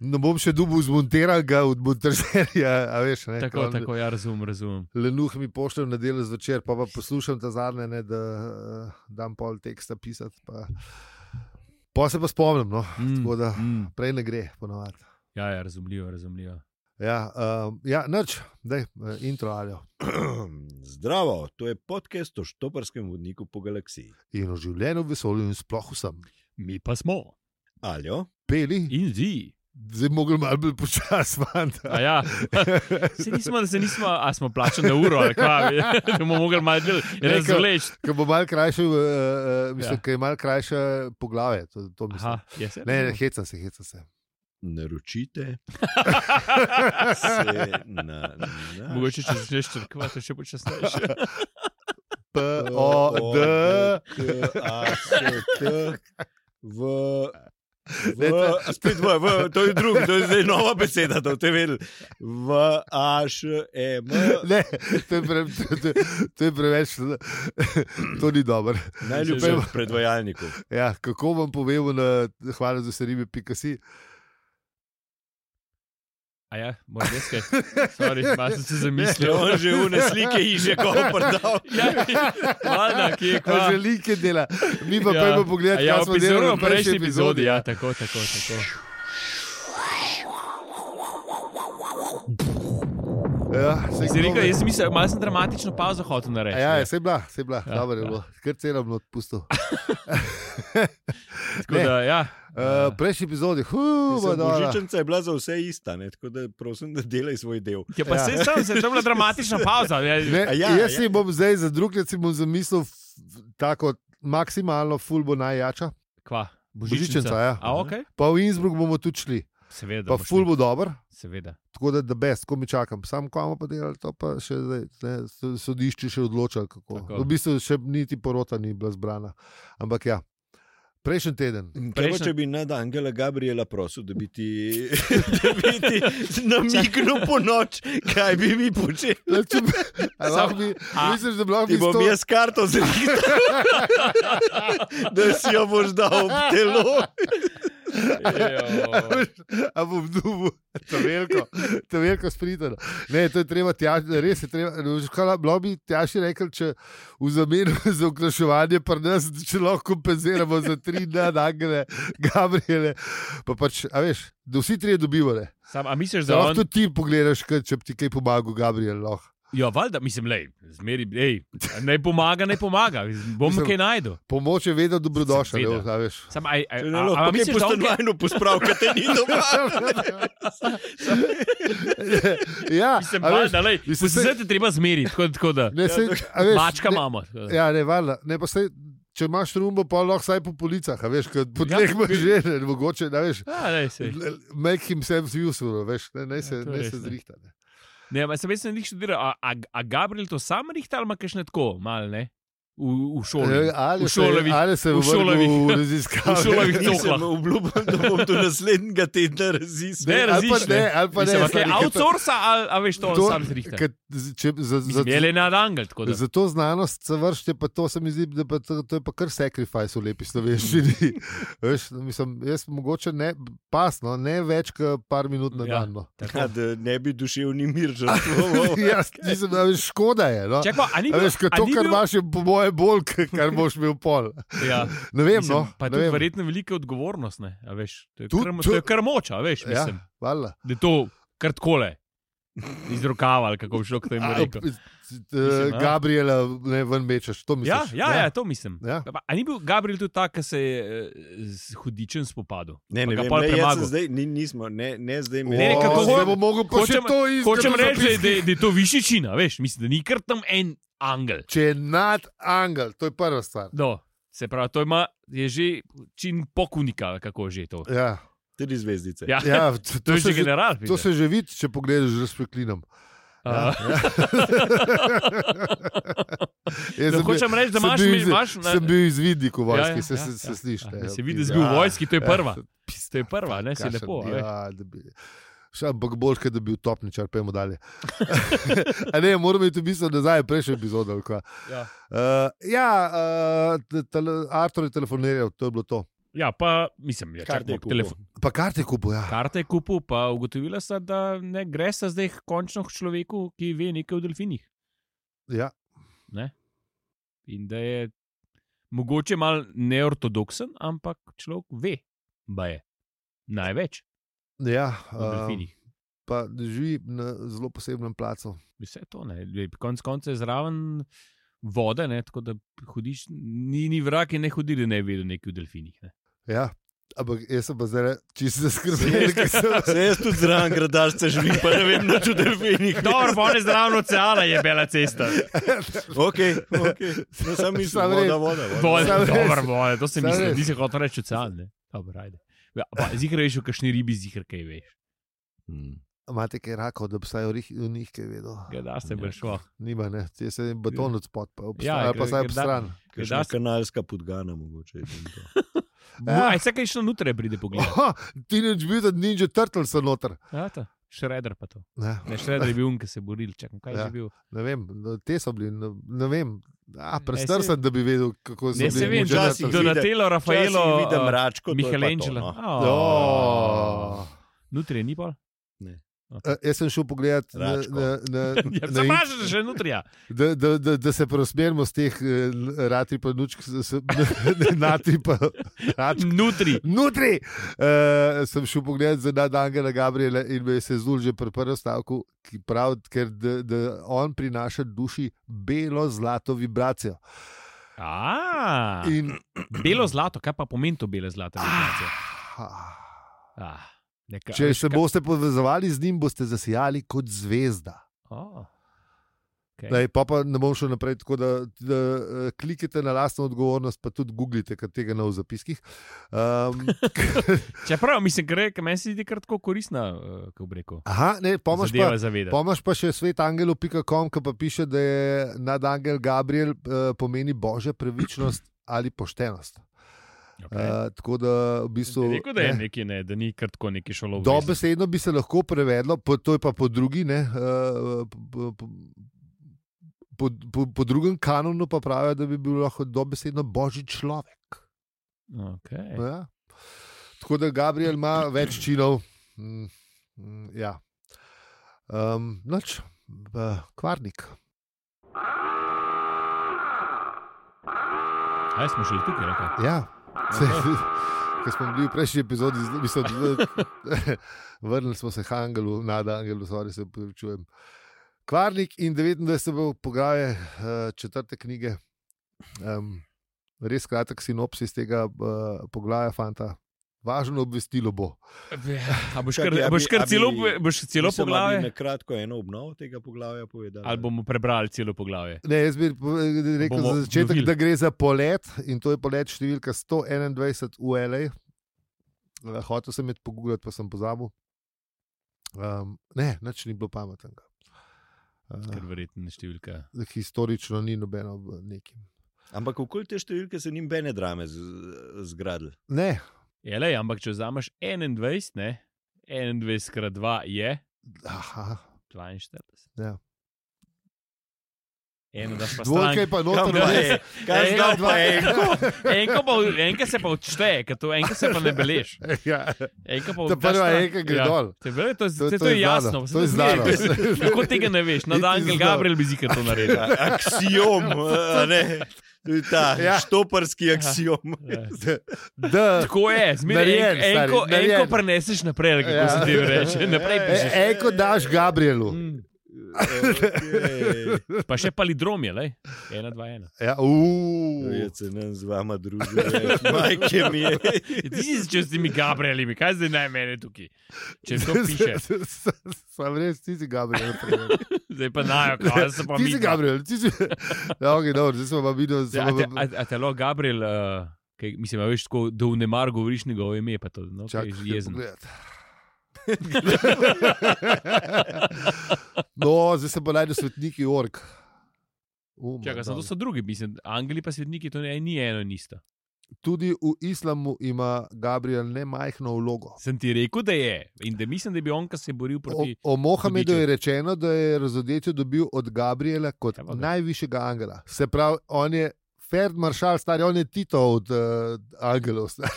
[SPEAKER 3] ne bom še dubu zmontiral ga od montažerja. a Veš, ne,
[SPEAKER 4] Tako,
[SPEAKER 3] ko on
[SPEAKER 4] tako, ja, razumem, razumem.
[SPEAKER 3] Lenuh mi pošlje na delo zvečer, pa, pa poslušam ta zadnje, ne, da uh, dam pol teksta pisati. Pa, pa se pa spomnim, no.
[SPEAKER 4] Mm,
[SPEAKER 3] Tako da-
[SPEAKER 4] mm.
[SPEAKER 3] prej ne gre, ponovadi.
[SPEAKER 4] Ja, ja, razumljivo, razumljivo.
[SPEAKER 3] Ja, um, ja noč, da je intro ali
[SPEAKER 5] Zdravo, to je podcast o štoparskem vodniku po galaksiji.
[SPEAKER 3] in o življenju v vesolju in sploh vsem.
[SPEAKER 4] Mi pa smo.
[SPEAKER 5] Aljo,
[SPEAKER 3] Peli,
[SPEAKER 4] In zi.
[SPEAKER 3] zdaj mogli malo bolj počasi, fanta.
[SPEAKER 4] Ja. Se nismo, se nismo, a smo plačani na uro, ali kaj, <laughs> da bomo mogli malo delati,
[SPEAKER 3] Rekel-
[SPEAKER 4] razvleči.
[SPEAKER 3] <laughs> Ker bo malo krajše, uh, uh, mislim, ja.
[SPEAKER 4] Ja.
[SPEAKER 3] ker je malo krajše poglavje. To, to mislim.
[SPEAKER 4] Aha, jaz se.
[SPEAKER 3] ne, ne, hecam se, hecam se. <laughs>
[SPEAKER 5] naročite se na. na
[SPEAKER 4] Mogoče, če začneš črkvati, še počasnejše. <laughs>
[SPEAKER 3] P, O, D,
[SPEAKER 5] K-A-S-T v. V,
[SPEAKER 3] Ne, to-
[SPEAKER 5] spet v, v, to je drugo, to je zdaj nova beseda, to ste vedeli. V, A, Š, E, M.
[SPEAKER 3] Ne, to je, pre, to, to, to je preveč, to ni dobro.
[SPEAKER 5] Najljubši
[SPEAKER 3] Že-
[SPEAKER 5] od predvajalnikov.
[SPEAKER 3] Ja, kako vam povem, na, hvala za vse ribe, pika si.
[SPEAKER 4] A ja, moram
[SPEAKER 3] <laughs>
[SPEAKER 4] jaz kaj. Sorry, malo sem se zamislil.
[SPEAKER 5] Če on že une slike in že kako prdal.
[SPEAKER 4] Ja, hvala, ki je kva.
[SPEAKER 3] Že like dela, mi pa ja. pojmo pogledati,
[SPEAKER 4] ja,
[SPEAKER 3] kaj smo delali
[SPEAKER 4] v prejšnji epizodi. Ja, tako, tako, tako.
[SPEAKER 3] Ja, saj
[SPEAKER 4] Si
[SPEAKER 3] kdo
[SPEAKER 4] rekel,
[SPEAKER 3] ve.
[SPEAKER 4] jaz mislim, malo sem dramatično pauzo hotel narediti.
[SPEAKER 3] Ja, se je bila, se je bila,
[SPEAKER 4] Ja,
[SPEAKER 3] ja, dobro je
[SPEAKER 4] ja.
[SPEAKER 3] bilo, kar celo bilo
[SPEAKER 4] <laughs>
[SPEAKER 3] odpustil.
[SPEAKER 4] Tako da, ja.
[SPEAKER 3] Uh, prejšnji epizodi, huva, da.
[SPEAKER 5] Božičnica je bila za vse ista, ne? tako da prosim, da delaj svoj del.
[SPEAKER 4] Ja, pa
[SPEAKER 3] Ja.
[SPEAKER 4] se sam, se je to bila dramatična pauza. Ja,
[SPEAKER 3] Ne,
[SPEAKER 5] A
[SPEAKER 3] ja,
[SPEAKER 5] ja,
[SPEAKER 3] jaz
[SPEAKER 5] ja.
[SPEAKER 3] si bom zdaj za drug, let si bom zamislil f- tako maksimalno, ful bo najjača.
[SPEAKER 4] Kva, božičnica.
[SPEAKER 3] Božičnica, ja.
[SPEAKER 4] A, ok,
[SPEAKER 3] Pa v Innsbruck bomo tudi šli,
[SPEAKER 4] seveda.
[SPEAKER 3] pa
[SPEAKER 4] boš
[SPEAKER 3] ful
[SPEAKER 4] šel.
[SPEAKER 3] bo dober.
[SPEAKER 4] Seveda.
[SPEAKER 3] Tako da, da best, ko mi čakam, sam ko imamo pa delali, to pa še zdaj, ne, so- sodišče še odloča. Kako.
[SPEAKER 4] Tako.
[SPEAKER 3] V bistvu še niti porota ni bila zbrana. Ampak ja, prejšnji
[SPEAKER 4] <laughs>
[SPEAKER 3] teden.
[SPEAKER 5] Kaj pa,
[SPEAKER 4] Prejšnja-
[SPEAKER 5] če bi nad Angela Gabriela prosil, da bi ti, <laughs> da bi ti namignil po noč, kaj bi mi počel?
[SPEAKER 3] Le, Če bi, a lahko bi,
[SPEAKER 4] a-
[SPEAKER 3] <laughs> misliš, da bi lahko bil
[SPEAKER 5] Ti bom
[SPEAKER 3] sto-
[SPEAKER 5] jaz karto <laughs> zrihtal, da si jo boš dal v telo.
[SPEAKER 3] A bom dubu, to veliko, to veliko spritno. Ne, to je treba tjaž, res je treba. no, Bilo bi tjažje rekel, če v zameno <laughs> za oglaševanje pri nas, če lahko kompenziramo za tri dni, Angele, Gabriele. Pa pač, a veš, da vsi trije dobivali.
[SPEAKER 4] Sam, a misliš,
[SPEAKER 3] Da Ja,
[SPEAKER 4] da
[SPEAKER 3] lahko
[SPEAKER 4] on...
[SPEAKER 3] tudi ti pogledaš, kaj, če bi ti kaj pomagal, Gabriel. Lahko.
[SPEAKER 4] Ja, valjda, mislim, lej, zmeri, ej, naj pomaga, naj pomaga, bom
[SPEAKER 3] Mislim,
[SPEAKER 4] kaj najdel.
[SPEAKER 3] Pomoč je vedno dobrodošla,
[SPEAKER 4] Seveda.
[SPEAKER 3] evo, a veš.
[SPEAKER 4] <laughs>
[SPEAKER 3] <laughs>
[SPEAKER 4] Sam, aj, aj,
[SPEAKER 5] Če
[SPEAKER 4] aj,
[SPEAKER 5] ne
[SPEAKER 4] aj,
[SPEAKER 5] lahko
[SPEAKER 4] aj,
[SPEAKER 5] kaj
[SPEAKER 4] misliš,
[SPEAKER 5] po
[SPEAKER 4] da on kaj-
[SPEAKER 5] stanovanju pospravil, kaj te ni <laughs> doma.
[SPEAKER 3] ja,
[SPEAKER 4] Mislim,
[SPEAKER 3] a veš,
[SPEAKER 4] valjda, lej,
[SPEAKER 3] mislim,
[SPEAKER 4] vse te treba zmeriti, tako, tako da.
[SPEAKER 3] ne, sej, a veš,
[SPEAKER 4] Mačka
[SPEAKER 3] ne-
[SPEAKER 4] imamo. tako da.
[SPEAKER 3] Ja, ne, valjda. ne, pa sej, če imaš rumbo, pa lahko vsaj po policah, a veš, kot po
[SPEAKER 4] Ja,
[SPEAKER 3] tleh imaš
[SPEAKER 4] bi-
[SPEAKER 3] že, ne, mogoče, da veš.
[SPEAKER 4] Ja, lej, sej.
[SPEAKER 3] l- Make himself useful, veš, ne, ne se,
[SPEAKER 4] Ja, to
[SPEAKER 3] ne
[SPEAKER 4] je res,
[SPEAKER 3] se
[SPEAKER 4] ne.
[SPEAKER 3] zrihta. Ne.
[SPEAKER 4] Ne, ma sem jaz sem jih študiral, a, a, a Gabriel to sam rihta ali ima kakšne tako, malo ne? V, v šoli.
[SPEAKER 3] Ja, Ali
[SPEAKER 4] V
[SPEAKER 3] se,
[SPEAKER 4] šolavih-
[SPEAKER 3] ali se
[SPEAKER 4] v
[SPEAKER 3] v šolavih,
[SPEAKER 4] šolavih-
[SPEAKER 3] v
[SPEAKER 4] <laughs> v
[SPEAKER 3] raziskavah.
[SPEAKER 4] šolavih
[SPEAKER 5] Nisem obljubljal, da bom do naslednjega tedna
[SPEAKER 4] Ne,
[SPEAKER 5] raziskal.
[SPEAKER 3] ali pa
[SPEAKER 4] razišne.
[SPEAKER 3] ne, ali pa ne.
[SPEAKER 4] Mislim, a kaj
[SPEAKER 3] stari, ker to-
[SPEAKER 4] outsourca ali a veš to, to sam zrihta.
[SPEAKER 3] ker z- če- za- za-
[SPEAKER 4] Mislim, je le na angel, tako da.
[SPEAKER 3] Za to znanost se vršite, pa to se mi zdi, da pa to, to je pa kar sacrifice v lepi
[SPEAKER 4] <laughs>
[SPEAKER 3] slovenščini. Veš, mislim, jaz mogoče ne, pasno, ne več kot par minut na
[SPEAKER 4] Ja.
[SPEAKER 3] dan. No.
[SPEAKER 5] Ja, da ne bi duševni mir žrtvoval.
[SPEAKER 3] <laughs> Jaz nisem, a veš, škoda je. No.
[SPEAKER 4] Čakaj, a ni
[SPEAKER 3] A
[SPEAKER 4] bil,
[SPEAKER 3] veš, kot
[SPEAKER 4] a
[SPEAKER 3] to,
[SPEAKER 4] ni
[SPEAKER 3] kar
[SPEAKER 4] bil-
[SPEAKER 3] imaš, je po moje bolj, kot kar boš imel pol.
[SPEAKER 4] Ja,
[SPEAKER 3] Ne vem,
[SPEAKER 4] mislim,
[SPEAKER 3] no.
[SPEAKER 4] pa
[SPEAKER 3] ne
[SPEAKER 4] tudi
[SPEAKER 3] vem.
[SPEAKER 4] verjetno velika odgovornost, ne, a veš. To je,
[SPEAKER 3] Tu-
[SPEAKER 4] kar, mo-
[SPEAKER 3] tu-
[SPEAKER 4] to je kar moč, a veš,
[SPEAKER 3] Ja,
[SPEAKER 4] mislim.
[SPEAKER 3] valjda.
[SPEAKER 4] Da je to kar kole. Iz rokava, ali kako bi šlo k temu rekel. Mislim, ja.
[SPEAKER 3] eh, Gabriela, ne ven mečeš, to misliš.
[SPEAKER 4] Ja, ja, ja, to mislim.
[SPEAKER 3] Ja.
[SPEAKER 4] Pa, a ni bil Gabriel tudi ta, ki se je eh, z hudičem spopadal?
[SPEAKER 5] Ne,
[SPEAKER 4] Pa
[SPEAKER 5] ne,
[SPEAKER 4] ga
[SPEAKER 5] vem,
[SPEAKER 4] pol
[SPEAKER 5] ne, jaz sem
[SPEAKER 4] premagal?
[SPEAKER 5] zdaj, ni, nismo, ne, ne zdaj
[SPEAKER 3] O,
[SPEAKER 5] me.
[SPEAKER 4] Ne, ne, kako
[SPEAKER 3] zdaj
[SPEAKER 4] hočem-
[SPEAKER 3] bo mogel pa še
[SPEAKER 4] hočem-
[SPEAKER 3] to iskati.
[SPEAKER 4] Hočem reči, da je- da, je- da je to višečina, veš, mislim, da ni kar tam en angel.
[SPEAKER 3] Če je nad angel, to je prva stvar.
[SPEAKER 4] No, se pravi, to ima, je že čin pokunika, ali kako že je to.
[SPEAKER 3] Ja,
[SPEAKER 5] Tudi zvezdice.
[SPEAKER 4] Ja, ja, <laughs>
[SPEAKER 3] ja, to,
[SPEAKER 4] to
[SPEAKER 3] to,
[SPEAKER 4] je
[SPEAKER 3] se
[SPEAKER 4] že
[SPEAKER 3] že,
[SPEAKER 4] general.
[SPEAKER 3] to se že vidi, če pogledaš z preklinom.
[SPEAKER 4] ja,
[SPEAKER 3] Jaz
[SPEAKER 4] ja.
[SPEAKER 3] sem bil-
[SPEAKER 4] Hočem reči, da
[SPEAKER 3] sem
[SPEAKER 4] imaš,
[SPEAKER 3] bil
[SPEAKER 4] mi-
[SPEAKER 3] iz-
[SPEAKER 4] imaš
[SPEAKER 3] Sem bil izvidnik v vojski,
[SPEAKER 4] Ja, ja,
[SPEAKER 3] se,
[SPEAKER 4] ja,
[SPEAKER 3] se, se
[SPEAKER 4] ja,
[SPEAKER 3] sliš. ne,
[SPEAKER 4] da
[SPEAKER 3] ja,
[SPEAKER 4] se vidi, da
[SPEAKER 3] pizda.
[SPEAKER 4] si bil v vojski, to je
[SPEAKER 3] Ja,
[SPEAKER 4] prva.
[SPEAKER 3] pizda,
[SPEAKER 4] To je prva, <laughs> ne, se
[SPEAKER 3] kakšen
[SPEAKER 4] lepo. a veš.
[SPEAKER 3] Ja, da bi- še ampak bolj, kot da bi bil topničar, pojmo dalje. <laughs> A ne, moramo iti v bistvu nazaj, prejšnji epizod. Uh,
[SPEAKER 4] Ja.
[SPEAKER 3] ja, uh, te- tele- Artur je telefoniral, to je bilo to.
[SPEAKER 4] Ja, pa mislim, ja,
[SPEAKER 5] Karte je
[SPEAKER 4] čakamo,
[SPEAKER 5] kupil.
[SPEAKER 4] telefon.
[SPEAKER 3] Pa karte kupu, ja.
[SPEAKER 4] Karte je kupil, pa ugotovila sta, da ne gre sta zdaj končno k človeku, ki ve nekaj o delfinih.
[SPEAKER 3] ja.
[SPEAKER 4] In da je mogoče mal neortodoksen, ampak človek ve, da je največ
[SPEAKER 3] Ja,
[SPEAKER 4] o
[SPEAKER 3] eh,
[SPEAKER 4] delfinih.
[SPEAKER 3] pa živi na zelo posebnem placu.
[SPEAKER 4] Vse to, ne. Lej, Konec konca je zraven vode, ne, tako da hodiš, ni, ni vrak in ne hodi, da ne ve nekaj o delfinih. Ne.
[SPEAKER 3] Ja. Ampak jaz sem pa zdaj čisto zaskrbljen, ker
[SPEAKER 4] <laughs>
[SPEAKER 3] sem
[SPEAKER 4] Ja.
[SPEAKER 5] Se jaz tudi zraven gradašce živim, pa ne vem, na čudelvinih.
[SPEAKER 4] <laughs> Dobro, pa ne zraven oceana je bela <laughs> cesta.
[SPEAKER 5] Okay, okay. No, sam mislim,
[SPEAKER 3] Samo
[SPEAKER 5] voda,
[SPEAKER 3] res.
[SPEAKER 5] voda, voda.
[SPEAKER 4] Vode,
[SPEAKER 3] Samo res.
[SPEAKER 4] dobro, vode, to sem
[SPEAKER 3] Samo
[SPEAKER 4] mislil,
[SPEAKER 3] res.
[SPEAKER 4] nisi hotel reči ocean. ne. Dobro, ajde. Ja, pa Zihar veš, v kakšni ribi zihar kaj veš.
[SPEAKER 5] Hmm.
[SPEAKER 3] Imate kaj rako, da bi vsaj o rih- o njih kaj vedel.
[SPEAKER 4] Gledaš se
[SPEAKER 5] Ja.
[SPEAKER 4] bolj šlo.
[SPEAKER 3] Nima, ne, ti se jim beton odspod, pa obstaja,
[SPEAKER 4] Ja,
[SPEAKER 3] ali pa
[SPEAKER 4] ker-
[SPEAKER 3] vsaj
[SPEAKER 4] ker
[SPEAKER 3] ob
[SPEAKER 4] da-
[SPEAKER 3] stran.
[SPEAKER 5] Kakšna
[SPEAKER 4] Gledaš-
[SPEAKER 5] kanalska podgana mogoče. je tam to.
[SPEAKER 3] Ja.
[SPEAKER 4] Aj, vse kaj šlo nutre, pride pogled. <laughs>
[SPEAKER 3] Oha, Teenage Mutant Ninja Turtle so noter.
[SPEAKER 4] Ja, Šreder pa to.
[SPEAKER 3] Ne,
[SPEAKER 4] Ne, šreder je bil un, ki se je boril, čakam, kaj je
[SPEAKER 3] Ja.
[SPEAKER 4] že bil.
[SPEAKER 3] ne vem, no, te so bili, no, ne vem. A,
[SPEAKER 4] Ne,
[SPEAKER 3] prestar
[SPEAKER 4] se-
[SPEAKER 3] sem, da bi vedel, kako so
[SPEAKER 4] Ne, se
[SPEAKER 3] bili.
[SPEAKER 4] vem,
[SPEAKER 3] Ninja
[SPEAKER 5] včasih
[SPEAKER 3] Turtles.
[SPEAKER 5] do-
[SPEAKER 4] Donatello, Rafaelo,
[SPEAKER 5] Včasih vidim
[SPEAKER 4] uh,
[SPEAKER 5] račko, to je pa to,
[SPEAKER 4] Michelangelo.
[SPEAKER 5] no.
[SPEAKER 3] Oh.
[SPEAKER 4] Nutri je ni pol.
[SPEAKER 3] Eh, Jaz sem šel pogledat, na,
[SPEAKER 5] Račko.
[SPEAKER 3] na, na,
[SPEAKER 4] <laughs> Ja,
[SPEAKER 3] na, in-
[SPEAKER 4] Zamažeš še nutri, ja.
[SPEAKER 3] da, da, da, da se preusmerimo z teh eh, rati pa nučk, s- <laughs> s- ne, nati pa račk.
[SPEAKER 4] Nutri.
[SPEAKER 3] Nutri! Uh, sem šel pogledat za dan Angela Gabriela in me je se zdul že pri prvem stavku, ki pravi, ker da, da on prinaša duši belo-zlato vibracijo.
[SPEAKER 4] A,
[SPEAKER 3] In,
[SPEAKER 4] belo zlato, kaj pa pomeni to belo zlato? vibracije? Ah, neka-
[SPEAKER 3] če
[SPEAKER 4] veš,
[SPEAKER 3] se
[SPEAKER 4] ka-
[SPEAKER 3] boste povezovali z njim, boste zasijali kot zvezda.
[SPEAKER 4] O, okej.
[SPEAKER 3] Daj, pa, pa ne bom šel naprej, tako da, da eh, klikite na lastno odgovornost, pa tudi googlite, kaj tega na v zapiskih.
[SPEAKER 4] <laughs>
[SPEAKER 3] Um,
[SPEAKER 4] Čeprav mislim, ker je- meni se zdi kar tako koristna, eh, ko bi rekel.
[SPEAKER 3] aha, ne, pomaž pa,
[SPEAKER 4] Zadeva zavedati.
[SPEAKER 3] pomaž pa še svetangelu.com, ki pa piše, da je nadangel Gabriel uh, pomeni božja pravičnost ali poštenost.
[SPEAKER 4] Okay.
[SPEAKER 3] Uh, tako da v bistvu.
[SPEAKER 4] Bi rekel, da je
[SPEAKER 3] ne.
[SPEAKER 4] nekaj, ne, da ni kar tako neki šolo.
[SPEAKER 3] Dobesedno bi se lahko prevedlo, po, to je pa po drugi, ne, eh, po, po, po, po, po drugem kanonu pa pravijo, da bi bil lahko dobesedno božji človek.
[SPEAKER 4] Okay.
[SPEAKER 3] Ja. Tako da Gabriel ima več činov. Mm, mm, Ja. Um, noč, eh, kvarnik.
[SPEAKER 4] Aj smo šli tukaj, rekli.
[SPEAKER 3] Ja. Se, <laughs> ker smo bili v prejšnji epizodi, z- mislim, da <laughs> vrnili smo se k Angelu, nada Angelu, sorry, se upravičujem. Kvarnik in 29. poglavje eh, četrte knjige. Um, res kratek sinopsis tega uh, poglavja, fanta. Važno obvestilo bo.
[SPEAKER 4] A boš
[SPEAKER 5] Čakaj,
[SPEAKER 4] kar,
[SPEAKER 5] Eh, a bi-
[SPEAKER 4] boš kar
[SPEAKER 5] a bi-
[SPEAKER 4] celo, boš celo
[SPEAKER 5] Mislim, a bi Na
[SPEAKER 4] poglavje?
[SPEAKER 5] kratko eno obnovo tega poglavja povedal.
[SPEAKER 4] Ali bomo prebrali celo poglavje?
[SPEAKER 3] Ne, jaz bi pove- rekel
[SPEAKER 4] Bomo
[SPEAKER 3] za začetek,
[SPEAKER 4] obnovili.
[SPEAKER 3] da gre za polet in to je polet številka 121 v L.A. Eh, Hotel sem jih pogubiti, pa sem pozabil. Um, ne, nič ni bilo pametnega.
[SPEAKER 4] Ker
[SPEAKER 3] Uh,
[SPEAKER 4] verjetno številka.
[SPEAKER 3] historično ni nobeno v nekim.
[SPEAKER 5] Ampak okoli te številke se njim bene drame z- zgradili.
[SPEAKER 3] Ne,
[SPEAKER 4] Je le, ampak če vzameš 21, ne? 21 krat 2 je
[SPEAKER 3] aha.
[SPEAKER 4] 42.
[SPEAKER 3] Ja.
[SPEAKER 4] Eno daš pa
[SPEAKER 3] Dvojka je
[SPEAKER 4] stran.
[SPEAKER 3] pa
[SPEAKER 5] Kam
[SPEAKER 3] noter.
[SPEAKER 5] pa
[SPEAKER 3] ne.
[SPEAKER 5] je? Kaj
[SPEAKER 4] Ej,
[SPEAKER 5] zdaj
[SPEAKER 3] dva-
[SPEAKER 5] pa je?
[SPEAKER 4] <laughs> Enko, pa, enko se pa odšteje, ker to enko se pa ne belež.
[SPEAKER 3] <laughs> Ja,
[SPEAKER 4] Enko pa
[SPEAKER 3] ta
[SPEAKER 4] daš
[SPEAKER 3] prva
[SPEAKER 4] stran.
[SPEAKER 3] je, ki gre dol.
[SPEAKER 4] To je, bilo, to,
[SPEAKER 3] To-
[SPEAKER 4] to, ja. to,
[SPEAKER 3] to
[SPEAKER 4] to je
[SPEAKER 3] je znano,
[SPEAKER 4] jasno,
[SPEAKER 3] to je
[SPEAKER 4] <laughs>
[SPEAKER 3] znano.
[SPEAKER 4] Kako tega ne veš, nad
[SPEAKER 3] Niti
[SPEAKER 4] Angel
[SPEAKER 3] znano.
[SPEAKER 4] Gabriel bi zikar
[SPEAKER 3] <laughs>
[SPEAKER 4] to naredil.
[SPEAKER 5] Aksijom, eh, a ne? Tudi Ta
[SPEAKER 3] Ja.
[SPEAKER 5] ja. štoparski aksijom.
[SPEAKER 4] Ja.
[SPEAKER 3] Da,
[SPEAKER 4] Tako je, zmeraj
[SPEAKER 3] Narejen,
[SPEAKER 4] enko,
[SPEAKER 3] stari,
[SPEAKER 4] enko, enko
[SPEAKER 3] narejen.
[SPEAKER 4] preneseš naprej, kako
[SPEAKER 3] Ja.
[SPEAKER 4] se ti reče. Naprej pišeš.
[SPEAKER 3] e, eko daš Gabrielu.
[SPEAKER 4] Mm.
[SPEAKER 5] Ja. Okay.
[SPEAKER 4] Pa še palidrom je, le. 1, 2, 1.
[SPEAKER 3] Ja, uuu.
[SPEAKER 5] Je se nam z vama družil, majke mi
[SPEAKER 4] <laughs>
[SPEAKER 5] je.
[SPEAKER 4] Ti si začel s temi Gabrielimi, kaj zdaj naj mene tukaj? Če
[SPEAKER 3] <laughs>
[SPEAKER 4] to piše,
[SPEAKER 3] Sam res, ti si Gabriel.
[SPEAKER 4] <laughs> zdaj pa najo, kaj se No, pa
[SPEAKER 3] ti
[SPEAKER 4] mi.
[SPEAKER 3] si Gabriel, ti si. Ja, okay, dobro, zdaj smo pa videli,
[SPEAKER 4] Ja, A, te- a,
[SPEAKER 3] da
[SPEAKER 4] a telo Gabriel, uh, kaj, mislim, a veš, tako, da v nemar govoriš njegovo ime, pa to no, kaj, je
[SPEAKER 3] se
[SPEAKER 4] jezen.
[SPEAKER 3] bomo. <laughs> No, zdaj se bo najdel svetniki org. Um,
[SPEAKER 4] Čakaj, samo to so drugi, mislim, angeli pa svetniki, to ne, ni eno in isto.
[SPEAKER 3] Tudi v islamu ima Gabriel ne majhno vlogo.
[SPEAKER 4] Sem ti rekel, da je in da mislim, da bi on, ki se je boril
[SPEAKER 3] O,
[SPEAKER 4] proti.
[SPEAKER 3] o Mohamedu
[SPEAKER 4] hudiču.
[SPEAKER 3] je rečeno, da je razodetje dobil od Gabriela kot
[SPEAKER 4] Evo ga.
[SPEAKER 3] najvišjega angela. Se pravi, on je Ferd Maršal, star on je Tito od uh, angelov. star.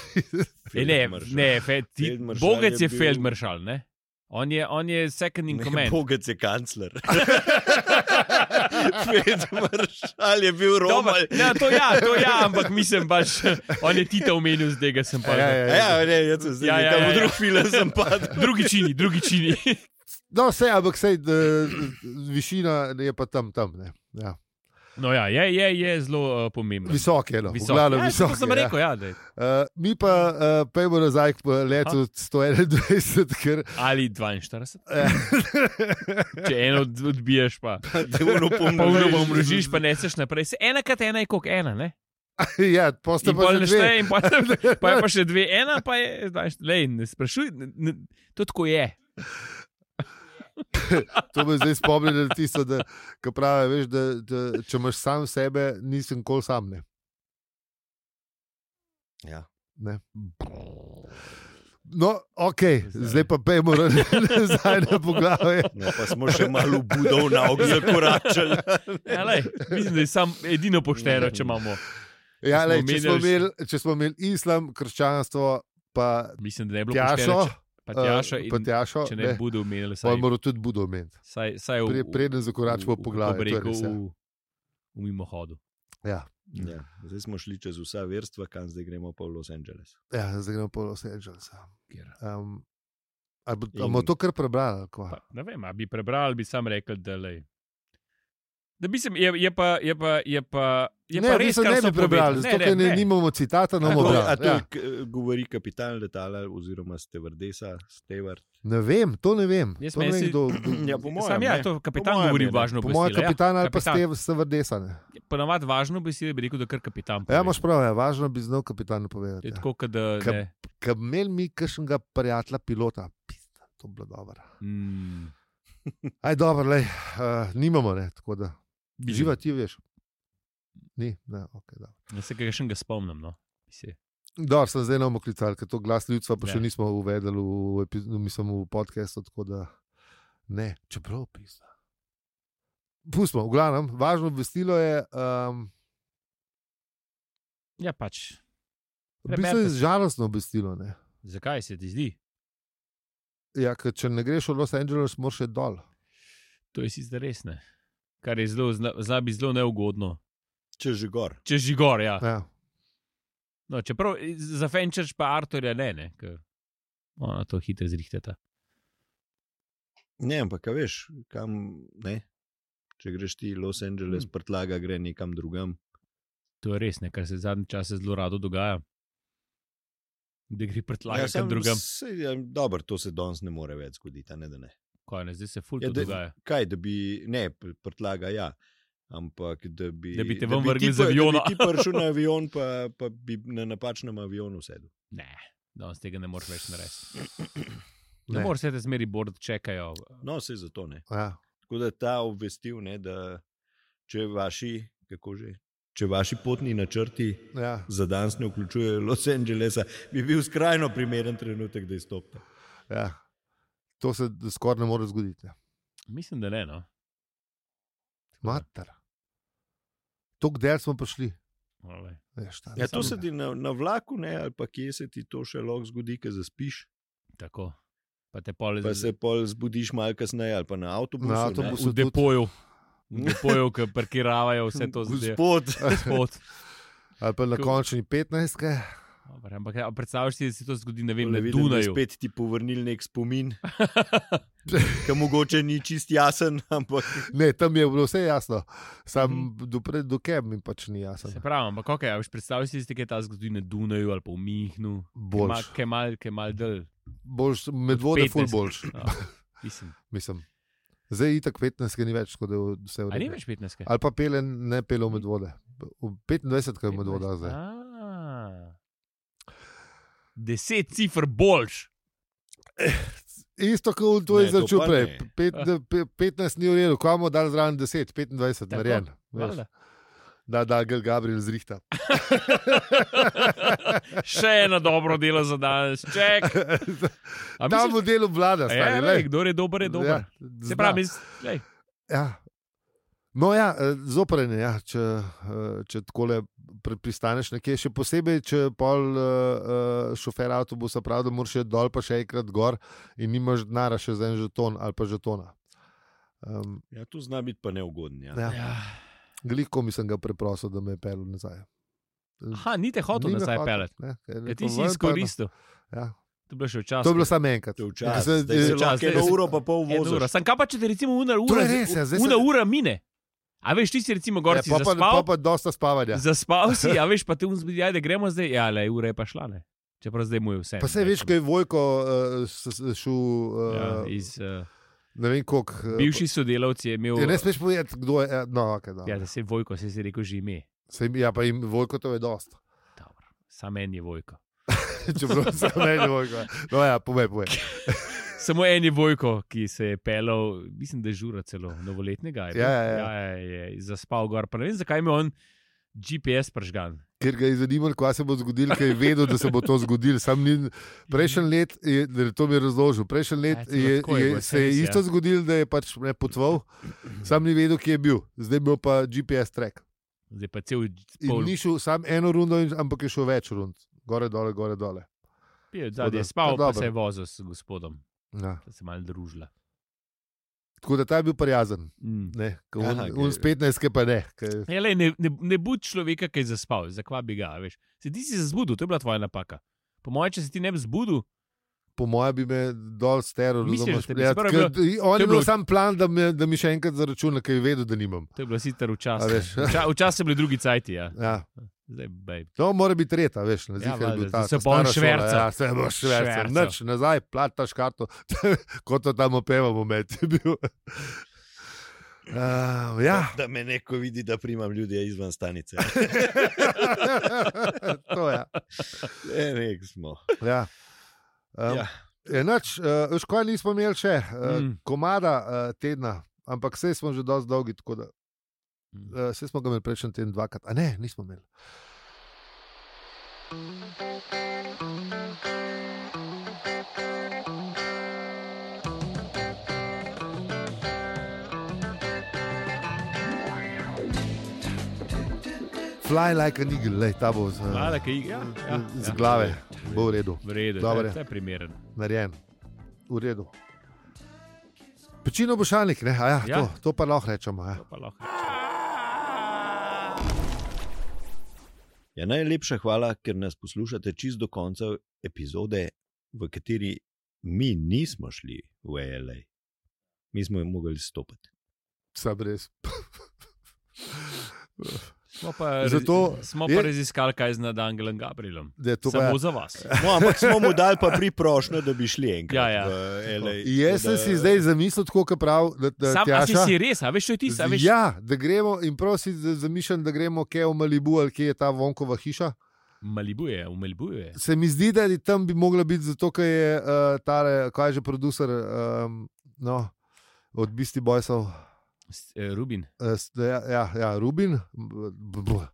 [SPEAKER 4] E, ne, ne, fe, ti,
[SPEAKER 5] Feldmaršal
[SPEAKER 4] Bogec
[SPEAKER 5] je
[SPEAKER 4] je
[SPEAKER 5] bil-
[SPEAKER 4] Feldmaršal, ne? On je, on je second in command.
[SPEAKER 5] Bogec je kancler. <laughs> Fred Maršal je bil
[SPEAKER 4] Dobro,
[SPEAKER 5] Roman.
[SPEAKER 4] ja, to ja, to ja, ampak mislim, baš, <laughs> on je Tita omenil, zdaj ga sem pa.
[SPEAKER 3] Ja, ja, ja.
[SPEAKER 5] Ja, ne, jaz sem zdaj
[SPEAKER 4] Ja, ja,
[SPEAKER 5] tam
[SPEAKER 4] ja,
[SPEAKER 5] v
[SPEAKER 4] ja.
[SPEAKER 5] drug film sem padel.
[SPEAKER 4] <laughs> Drugi čini, drugi čini. <laughs>
[SPEAKER 3] No, vse, ampak vse, višina je pa tam, tam. Ne. Ja.
[SPEAKER 4] No ja, je, je, je zelo uh, pomembno.
[SPEAKER 3] Visok je, no,
[SPEAKER 4] Visok.
[SPEAKER 3] glavno
[SPEAKER 4] ja,
[SPEAKER 3] visok.
[SPEAKER 4] To sem
[SPEAKER 3] je,
[SPEAKER 4] rekel, ja. da je.
[SPEAKER 3] Ja. Uh, mi pa uh, pojmo nazaj k letu 121, ker.
[SPEAKER 4] Ali 42.
[SPEAKER 3] eh, <laughs>
[SPEAKER 4] Če eno od- odbiješ, pa
[SPEAKER 5] Devno
[SPEAKER 4] polno bom mrežiš, pa neseš naprej. Se ena krat ena je kot ena, ne?
[SPEAKER 3] ja,
[SPEAKER 4] In
[SPEAKER 3] posta pa
[SPEAKER 4] pol
[SPEAKER 3] že dve.
[SPEAKER 4] nešteje, in
[SPEAKER 3] <laughs>
[SPEAKER 4] pol, pa je pa še dve, ena pa je 20. Lej, ne sprašuj, ne, ne, to tako je.
[SPEAKER 3] To me zdaj spomni na tisto, da, ki pravi, veš, da, da če imaš sam sebe, nisem nikoli sam. Ne.
[SPEAKER 5] Ja.
[SPEAKER 3] Ne. No, ok, zdaj pa pojmo <laughs> nazaj na poglavje.
[SPEAKER 5] No, pa smo še malo budov na ognju
[SPEAKER 4] <laughs>
[SPEAKER 5] koračali.
[SPEAKER 4] Ja, lej, mislim, da je sam edino pošteno, če imamo.
[SPEAKER 3] Ja,
[SPEAKER 4] Smo
[SPEAKER 3] lej, če, smo
[SPEAKER 4] omenjali-
[SPEAKER 3] imeli, če smo imeli islam, krščanstvo, pa
[SPEAKER 4] Mislim, da ne bi bilo pošteno.
[SPEAKER 3] tjašo,
[SPEAKER 4] če- Pa tjašo
[SPEAKER 3] eh,
[SPEAKER 4] in
[SPEAKER 3] pa tjašo
[SPEAKER 4] če ne
[SPEAKER 3] ne,
[SPEAKER 4] bodo imeli vsaj,
[SPEAKER 3] pa moramo tudi budo omeniti.
[SPEAKER 4] vsaj, vsaj v,
[SPEAKER 3] Pre,
[SPEAKER 4] v-
[SPEAKER 3] preden zakoračimo
[SPEAKER 4] v-
[SPEAKER 3] po glavi.
[SPEAKER 4] kako bi rekel, v, v mimohodu.
[SPEAKER 3] Ja,
[SPEAKER 5] Ja, zdaj smo šli čez vsa verstva, kam zdaj gremo pa v Los Angeles.
[SPEAKER 3] ja, zdaj gremo po Los Angeles.
[SPEAKER 4] Kjer-
[SPEAKER 3] Um, ali bo- a
[SPEAKER 5] In-
[SPEAKER 3] bomo to kar prebrali? ali kva?
[SPEAKER 4] Pa, ne vem, ali bi prebrali, bi sam rekel, da lej. Da bi se, je, je pa, je pa, je pa, je pa
[SPEAKER 3] ne,
[SPEAKER 4] res,
[SPEAKER 3] mislim,
[SPEAKER 4] kar
[SPEAKER 3] ne
[SPEAKER 4] so
[SPEAKER 3] bi prebrali,
[SPEAKER 4] povedali.
[SPEAKER 3] zato ker ne, nimamo citata, ne bomo
[SPEAKER 5] to,
[SPEAKER 3] brali.
[SPEAKER 5] a to
[SPEAKER 3] Ja.
[SPEAKER 5] ja. govori kapitan letala, oziroma stevardesa, stevard.
[SPEAKER 3] Ne vem, to ne vem.
[SPEAKER 4] Jaz
[SPEAKER 3] To ne
[SPEAKER 4] meni
[SPEAKER 3] vem
[SPEAKER 4] se- <clears throat>
[SPEAKER 3] kdo,
[SPEAKER 5] Ja, po mojem.
[SPEAKER 4] Sam, ja,
[SPEAKER 5] ne.
[SPEAKER 4] to kapitan
[SPEAKER 5] mojem
[SPEAKER 4] govori
[SPEAKER 5] je, ne.
[SPEAKER 4] važno
[SPEAKER 3] po
[SPEAKER 4] besedilo.
[SPEAKER 3] mojem, kapitan
[SPEAKER 4] ja,
[SPEAKER 3] ali pa ste sevrdesane.
[SPEAKER 4] Ponavadi važno besedilo bi rekel, da kar kapitan.
[SPEAKER 3] Ja,
[SPEAKER 4] pove.
[SPEAKER 3] imaš prav, ja, važno bi znal kapitan povedati.
[SPEAKER 4] Je
[SPEAKER 3] Ja.
[SPEAKER 4] tako, kot da.
[SPEAKER 3] Kap-
[SPEAKER 4] ne.
[SPEAKER 3] Kaj imel mi kakšnega prijatelja pilota, pizda, to bi bilo dobro.
[SPEAKER 4] Mm,
[SPEAKER 3] Aj, dobro, lej, uh, nimamo, ne, tako da.
[SPEAKER 4] bi-
[SPEAKER 3] Živa ti veš. Ni, ne, ok, da.
[SPEAKER 4] Jaz se kaj še ne spomnim. No. Bi se-
[SPEAKER 3] Dobro, sem zdaj nam oklical, ker to glas ljudstva pa še
[SPEAKER 4] Ja.
[SPEAKER 3] nismo uvedli v, epi- mislim, v podkastu, tako da ne, čeprav pisa. Pustimo, v glavnem, važno obvestilo je, um,
[SPEAKER 4] Ja, pač.
[SPEAKER 3] v bistvu je žalostno obvestilo. Ne?
[SPEAKER 4] Zakaj se ti zdi?
[SPEAKER 3] Ja, ker če ne greš v Los Angeles, moraš še dol.
[SPEAKER 4] To je sicer res ne. Kar je zelo, zna, zna biti zelo neugodno.
[SPEAKER 5] Če že gor.
[SPEAKER 4] Če že gor, ja.
[SPEAKER 3] Ja.
[SPEAKER 4] No, čeprav eh, za Fenčerč pa Arturja ne, ne. Ker... Ona to hitro zrihteta.
[SPEAKER 5] Ne, ampak a veš, kam ne. Če greš ti Los Angeles,
[SPEAKER 4] Hmm.
[SPEAKER 5] hmm. prtlaga gre nekam drugam.
[SPEAKER 4] To je res ne, kar se zadnje čase zelo rado dogaja. Da gre prtlaka ja,
[SPEAKER 5] samo
[SPEAKER 4] drugam.
[SPEAKER 5] se- Ja, dobro, to se danes ne more več zgoditi. a Ne, da ne.
[SPEAKER 4] Konec, zdaj se ful
[SPEAKER 5] Ja,
[SPEAKER 4] ja, to
[SPEAKER 5] da-
[SPEAKER 4] dogaja.
[SPEAKER 5] Kaj, da bi, ne, pr- prtlaga ja. Ampak da bi,
[SPEAKER 4] Da bi te ven vrgli
[SPEAKER 5] ti
[SPEAKER 4] z
[SPEAKER 5] pa- da bi
[SPEAKER 4] aviona.
[SPEAKER 5] Ti prišel
[SPEAKER 4] <laughs>
[SPEAKER 5] na avion, pa, pa bi na napačnem avionu sedel.
[SPEAKER 4] Ne, danes tega ne moreš več narediti. Ne,
[SPEAKER 3] <clears throat> Ne.
[SPEAKER 4] ne moreš se te zmeri bord čekajo.
[SPEAKER 5] No, se zato ne.
[SPEAKER 3] Ja.
[SPEAKER 5] Tako da ta obvestil, ne, da če vaši, kako že, če vaši potni načrti
[SPEAKER 3] Ja.
[SPEAKER 5] za danes ne vključujejo Los Angelesa, bi bil skrajno primeren trenutek, da izstopite.
[SPEAKER 3] Ja. To se d- skoraj ne more zgoditi. ja.
[SPEAKER 4] Mislim, da ne. No.
[SPEAKER 3] Mater. Tok del smo prišli.
[SPEAKER 4] Olej.
[SPEAKER 3] Veš, ta-
[SPEAKER 5] Ja, to se
[SPEAKER 3] ne.
[SPEAKER 5] ti na, na vlaku, ne, ali pa kje se ti to še lahko zgodi, ker zaspiš.
[SPEAKER 4] Tako. Pa te pole
[SPEAKER 5] Pa se pol zbudiš malo kasneje, ali pa na avtobusu.
[SPEAKER 3] Na
[SPEAKER 5] ne.
[SPEAKER 3] avtobusu.
[SPEAKER 4] v
[SPEAKER 3] tudi-
[SPEAKER 4] depoju.
[SPEAKER 5] <laughs>
[SPEAKER 4] V depoju, ki parkirajo vse to zadevo.
[SPEAKER 5] Gospod,
[SPEAKER 4] <laughs> Spod.
[SPEAKER 3] Ali pa na
[SPEAKER 4] Ko-
[SPEAKER 3] končni 15.
[SPEAKER 4] Dobar, ampak ja, predstavljaš si, da se to zgodi ne vem,
[SPEAKER 5] ne
[SPEAKER 4] na
[SPEAKER 5] vidim, da je
[SPEAKER 4] Dunaju.
[SPEAKER 5] spet ti povrnil nek spomin, ki mogoče ni čist jasen, ampak
[SPEAKER 3] Ne, tam je bilo vse jasno, sam mm
[SPEAKER 5] Mhm.
[SPEAKER 3] -hmm. do, pred- do kem mi pač ni jasno.
[SPEAKER 4] Se pravi, ampak okay, a veš, predstavljaš si, da je ta zgodi na Dunaju ali pa v Mihnu,
[SPEAKER 3] Boljš,
[SPEAKER 4] ki je mal, ki je mal del.
[SPEAKER 3] boljš medvode, ful
[SPEAKER 4] 15.
[SPEAKER 3] boljš.
[SPEAKER 4] No,
[SPEAKER 3] <laughs>
[SPEAKER 4] mislim.
[SPEAKER 3] Mislim. Zdaj je tako 15, ki ni več, tako da je vse v
[SPEAKER 4] A ni
[SPEAKER 3] redu.
[SPEAKER 4] več 15?
[SPEAKER 3] Ali pa pele ne pele v medvode. V 25, kaj je medvoda zdaj.
[SPEAKER 4] 15. Deset cifr boljš.
[SPEAKER 3] Isto kot to
[SPEAKER 5] Ne,
[SPEAKER 3] je
[SPEAKER 5] to
[SPEAKER 3] začel
[SPEAKER 5] pa
[SPEAKER 3] prej.
[SPEAKER 5] ne.
[SPEAKER 4] <laughs>
[SPEAKER 3] Pet,
[SPEAKER 4] Ah.
[SPEAKER 3] ne, pe- 15 ni v redu, ko imamo dal zraven 10, 25,
[SPEAKER 4] Tako,
[SPEAKER 3] narejen. veš.
[SPEAKER 4] valjda.
[SPEAKER 3] Da, da, Gel Gabriel zrihta.
[SPEAKER 4] Še eno dobro delo za danes. Ček. <laughs> A
[SPEAKER 3] Ta
[SPEAKER 4] misliš-
[SPEAKER 3] model obvlada,
[SPEAKER 4] Ja,
[SPEAKER 3] stari.
[SPEAKER 4] glej,
[SPEAKER 3] glej.
[SPEAKER 4] Kdor je dober, je dober. Ja,
[SPEAKER 3] Ja,
[SPEAKER 4] Se
[SPEAKER 3] zna.
[SPEAKER 4] pravi, iz- glej,
[SPEAKER 3] Ja. No, ja, zoprene, ja, če, eh, če tako le pristaneš nekje, še posebej, če pol eh, eh, šofer avtobusa pravi, da moraš še dol, pa še enkrat gor in nimaš denarja še za en žeton ali pa žetona. Um,
[SPEAKER 5] ja, to zna biti pa neugodno. Ja.
[SPEAKER 3] ja.
[SPEAKER 4] ja.
[SPEAKER 3] Gliko mi sem ga preprosil, da me je pelil nazaj.
[SPEAKER 4] Aha, ni te hotel
[SPEAKER 3] Ni me
[SPEAKER 4] nazaj
[SPEAKER 3] hotel,
[SPEAKER 4] pelati.
[SPEAKER 3] ne, ker je
[SPEAKER 4] Ja, ti
[SPEAKER 3] rekel,
[SPEAKER 4] si
[SPEAKER 3] "Ven, pa
[SPEAKER 4] izkoristil.
[SPEAKER 3] eno." Ja.
[SPEAKER 4] To je bilo še včasih.
[SPEAKER 3] To je bilo samo enkrat.
[SPEAKER 5] To je
[SPEAKER 3] Ja,
[SPEAKER 5] včasih.
[SPEAKER 3] se-
[SPEAKER 5] Zdaj se
[SPEAKER 3] eh,
[SPEAKER 5] lahko
[SPEAKER 4] čas,
[SPEAKER 5] eno
[SPEAKER 4] zdaj-
[SPEAKER 5] uro pa pol voziš.
[SPEAKER 4] Sam kaj pa če ti recimo una
[SPEAKER 3] To
[SPEAKER 4] ura,
[SPEAKER 3] je res, ja, zdaj
[SPEAKER 4] una
[SPEAKER 3] se-
[SPEAKER 4] ura mine. A veš, ti si recimo gor
[SPEAKER 3] Ja,
[SPEAKER 4] ja, si
[SPEAKER 3] pa, pa, pa, ja.
[SPEAKER 4] zaspal,
[SPEAKER 3] pa dosta spavanja.
[SPEAKER 4] zaspal
[SPEAKER 3] <laughs>
[SPEAKER 4] si, a veš pa te unzbudi, ajde gremo zdaj, ja, le ura je pa šla, ne. Čeprav zdaj mu je vse.
[SPEAKER 3] Pa se veš, kaj je Vojko eh, s- s- šel,
[SPEAKER 4] Ja,
[SPEAKER 3] eh,
[SPEAKER 4] iz, uh,
[SPEAKER 3] ne vem koliko. eh,
[SPEAKER 4] bivši sodelavci je imel.
[SPEAKER 3] Ja, ne smeš povedati, kdo je. eh, No, okay,
[SPEAKER 4] ja,
[SPEAKER 3] ja.
[SPEAKER 4] da se je Vojko, se je rekel že ime.
[SPEAKER 3] Sej, ja, pa jim Vojko to je <laughs> dost.
[SPEAKER 4] Dobro, Sam en je Vojko.
[SPEAKER 3] Če prav se meni Vojko. No, ja, povej, povej.
[SPEAKER 4] Samo en je Vojko, ki se je pelal, mislim, da je žura celo novoletnega. je bil.
[SPEAKER 3] Ja, ja, ja.
[SPEAKER 4] ja je, je zaspal gor. Pa ne vem, zakaj ima on GPS pržgan.
[SPEAKER 3] Ker ga je zanimalo, kaj se bo zgodilo, ker je vedel, da se bo to zgodilo. Sam ni- Prejšnji let, je, da to mi je razložil, prejšnji let
[SPEAKER 4] Ja, celo
[SPEAKER 3] je,
[SPEAKER 4] tako je bilo,
[SPEAKER 3] je, se je
[SPEAKER 4] res ja. je.
[SPEAKER 3] isto zgodilo, da je pač ne potoval, sam ni vedel, kje je bil, zdaj je bil pa GPS track.
[SPEAKER 4] Zdaj pa cel
[SPEAKER 3] In
[SPEAKER 4] pol
[SPEAKER 3] ni šel samo eno rundo, in- ampak je šel več rund, gore, dole, gore, dole.
[SPEAKER 4] pije,
[SPEAKER 3] tako da,
[SPEAKER 4] zadnji je spal,
[SPEAKER 3] kar
[SPEAKER 4] pa
[SPEAKER 3] dobro.
[SPEAKER 4] se je vozil s gospodom,
[SPEAKER 3] Ja.
[SPEAKER 4] da se je malo družila.
[SPEAKER 3] Tako da ta je bil prijazen,
[SPEAKER 4] Mm.
[SPEAKER 3] ne, ke
[SPEAKER 5] Aha,
[SPEAKER 3] on,
[SPEAKER 5] ke-
[SPEAKER 3] on s 15 pa ne. ke-
[SPEAKER 4] Ja, lej, ne, ne, ne budi človeka, ki je zaspal, zakva bi ga. a Veš. Se ti si se zbudil, to je bila tvoja napaka. Po mojem, če se ti ne bi zbudil,
[SPEAKER 3] Po mojem bi me dol steril,
[SPEAKER 4] Misliš,
[SPEAKER 3] razumeš?
[SPEAKER 4] da te bi-
[SPEAKER 3] Ja,
[SPEAKER 4] se pravi,
[SPEAKER 3] ker
[SPEAKER 4] bilo-
[SPEAKER 3] On
[SPEAKER 4] to je
[SPEAKER 3] je bil
[SPEAKER 4] bilo-
[SPEAKER 3] sam plan, da, me, da mi še enkrat zaračuna, ker je vedel, da nimam.
[SPEAKER 4] to je bilo sicer
[SPEAKER 3] A
[SPEAKER 4] včasih.
[SPEAKER 3] veš.
[SPEAKER 4] <laughs> Vča, včasih so bili drugi cajti, ja.
[SPEAKER 3] Ja.
[SPEAKER 4] zdaj bej.
[SPEAKER 3] To mora biti tretja, veš, na
[SPEAKER 4] Ja,
[SPEAKER 3] zidu je
[SPEAKER 4] valjda,
[SPEAKER 3] bil ta.
[SPEAKER 4] da se
[SPEAKER 3] ta
[SPEAKER 4] bo on
[SPEAKER 3] stara šola,
[SPEAKER 4] švercal.
[SPEAKER 3] Ja, se bo švercal.
[SPEAKER 4] Švercal.
[SPEAKER 3] Noč nazaj, plataš karto, <laughs> kot to tam opeva moment je bil. <laughs> Uh, ja, <laughs>
[SPEAKER 5] Da me neko vidi, da primam ljudi izven stanice. <laughs>
[SPEAKER 3] to je.
[SPEAKER 5] Ne, nek smo.
[SPEAKER 3] Ja. Um,
[SPEAKER 5] Ja.
[SPEAKER 3] ja. Enač, uh, škoda nismo imeli še uh, mm.
[SPEAKER 4] Mm.
[SPEAKER 3] komada uh, tedna, ampak vse smo že dosti dolgi, tako da
[SPEAKER 4] Mm.
[SPEAKER 3] uh, vse smo ga imeli prejšnji teden dvakrat, a ne, nismo imeli. Fly like an eagle, lej, ta bo z, eh,
[SPEAKER 4] Mala, ki igra. Ja, ja,
[SPEAKER 3] z glave, bo v redu
[SPEAKER 4] V redu,
[SPEAKER 3] Dobro
[SPEAKER 4] to
[SPEAKER 3] je.
[SPEAKER 4] je primeren.
[SPEAKER 3] narejen, v redu. Pečino bošalnik, ne, A ja, ja.
[SPEAKER 4] Ja.
[SPEAKER 3] To, to pa lahko rečemo. Ja.
[SPEAKER 4] To pa lahko.
[SPEAKER 5] Ja, najlepša hvala, ker nas poslušate čist do konca epizode, v kateri mi nismo šli v LA. Mi smo jim mogli stopiti.
[SPEAKER 3] Sam res.
[SPEAKER 4] Smo pa,
[SPEAKER 3] Zato
[SPEAKER 4] smo
[SPEAKER 3] je-
[SPEAKER 4] pa raziskali, kaj je z Nadangelom Gabrielom.
[SPEAKER 3] Da, to
[SPEAKER 4] To
[SPEAKER 3] pa ja.
[SPEAKER 4] Samo je... za vas.
[SPEAKER 5] No, ampak smo mu dali pa priprošnjo, da bi šli enkrat
[SPEAKER 4] Ja, ja.
[SPEAKER 5] v LA.
[SPEAKER 3] Jaz sem si zdaj zamislil, tako kot prav, da, da
[SPEAKER 4] Sam a si,
[SPEAKER 3] Tjaša-
[SPEAKER 4] si res, a veš, to je tisto. a Veš,
[SPEAKER 3] Ja, da gremo in prav si za- zamišljam, da gremo kje v Malibu ali kje je ta vonkova hiša.
[SPEAKER 4] Malibu je, v Malibu je.
[SPEAKER 3] Se mi zdi, da je tam bi mogla biti zato, ker je uh, ta, kaj je že producer um, no, od Bisti Boysov.
[SPEAKER 4] S- eh, Rubin.
[SPEAKER 3] Eh, s- Ja, ja, ja, Rubin. B- b- b-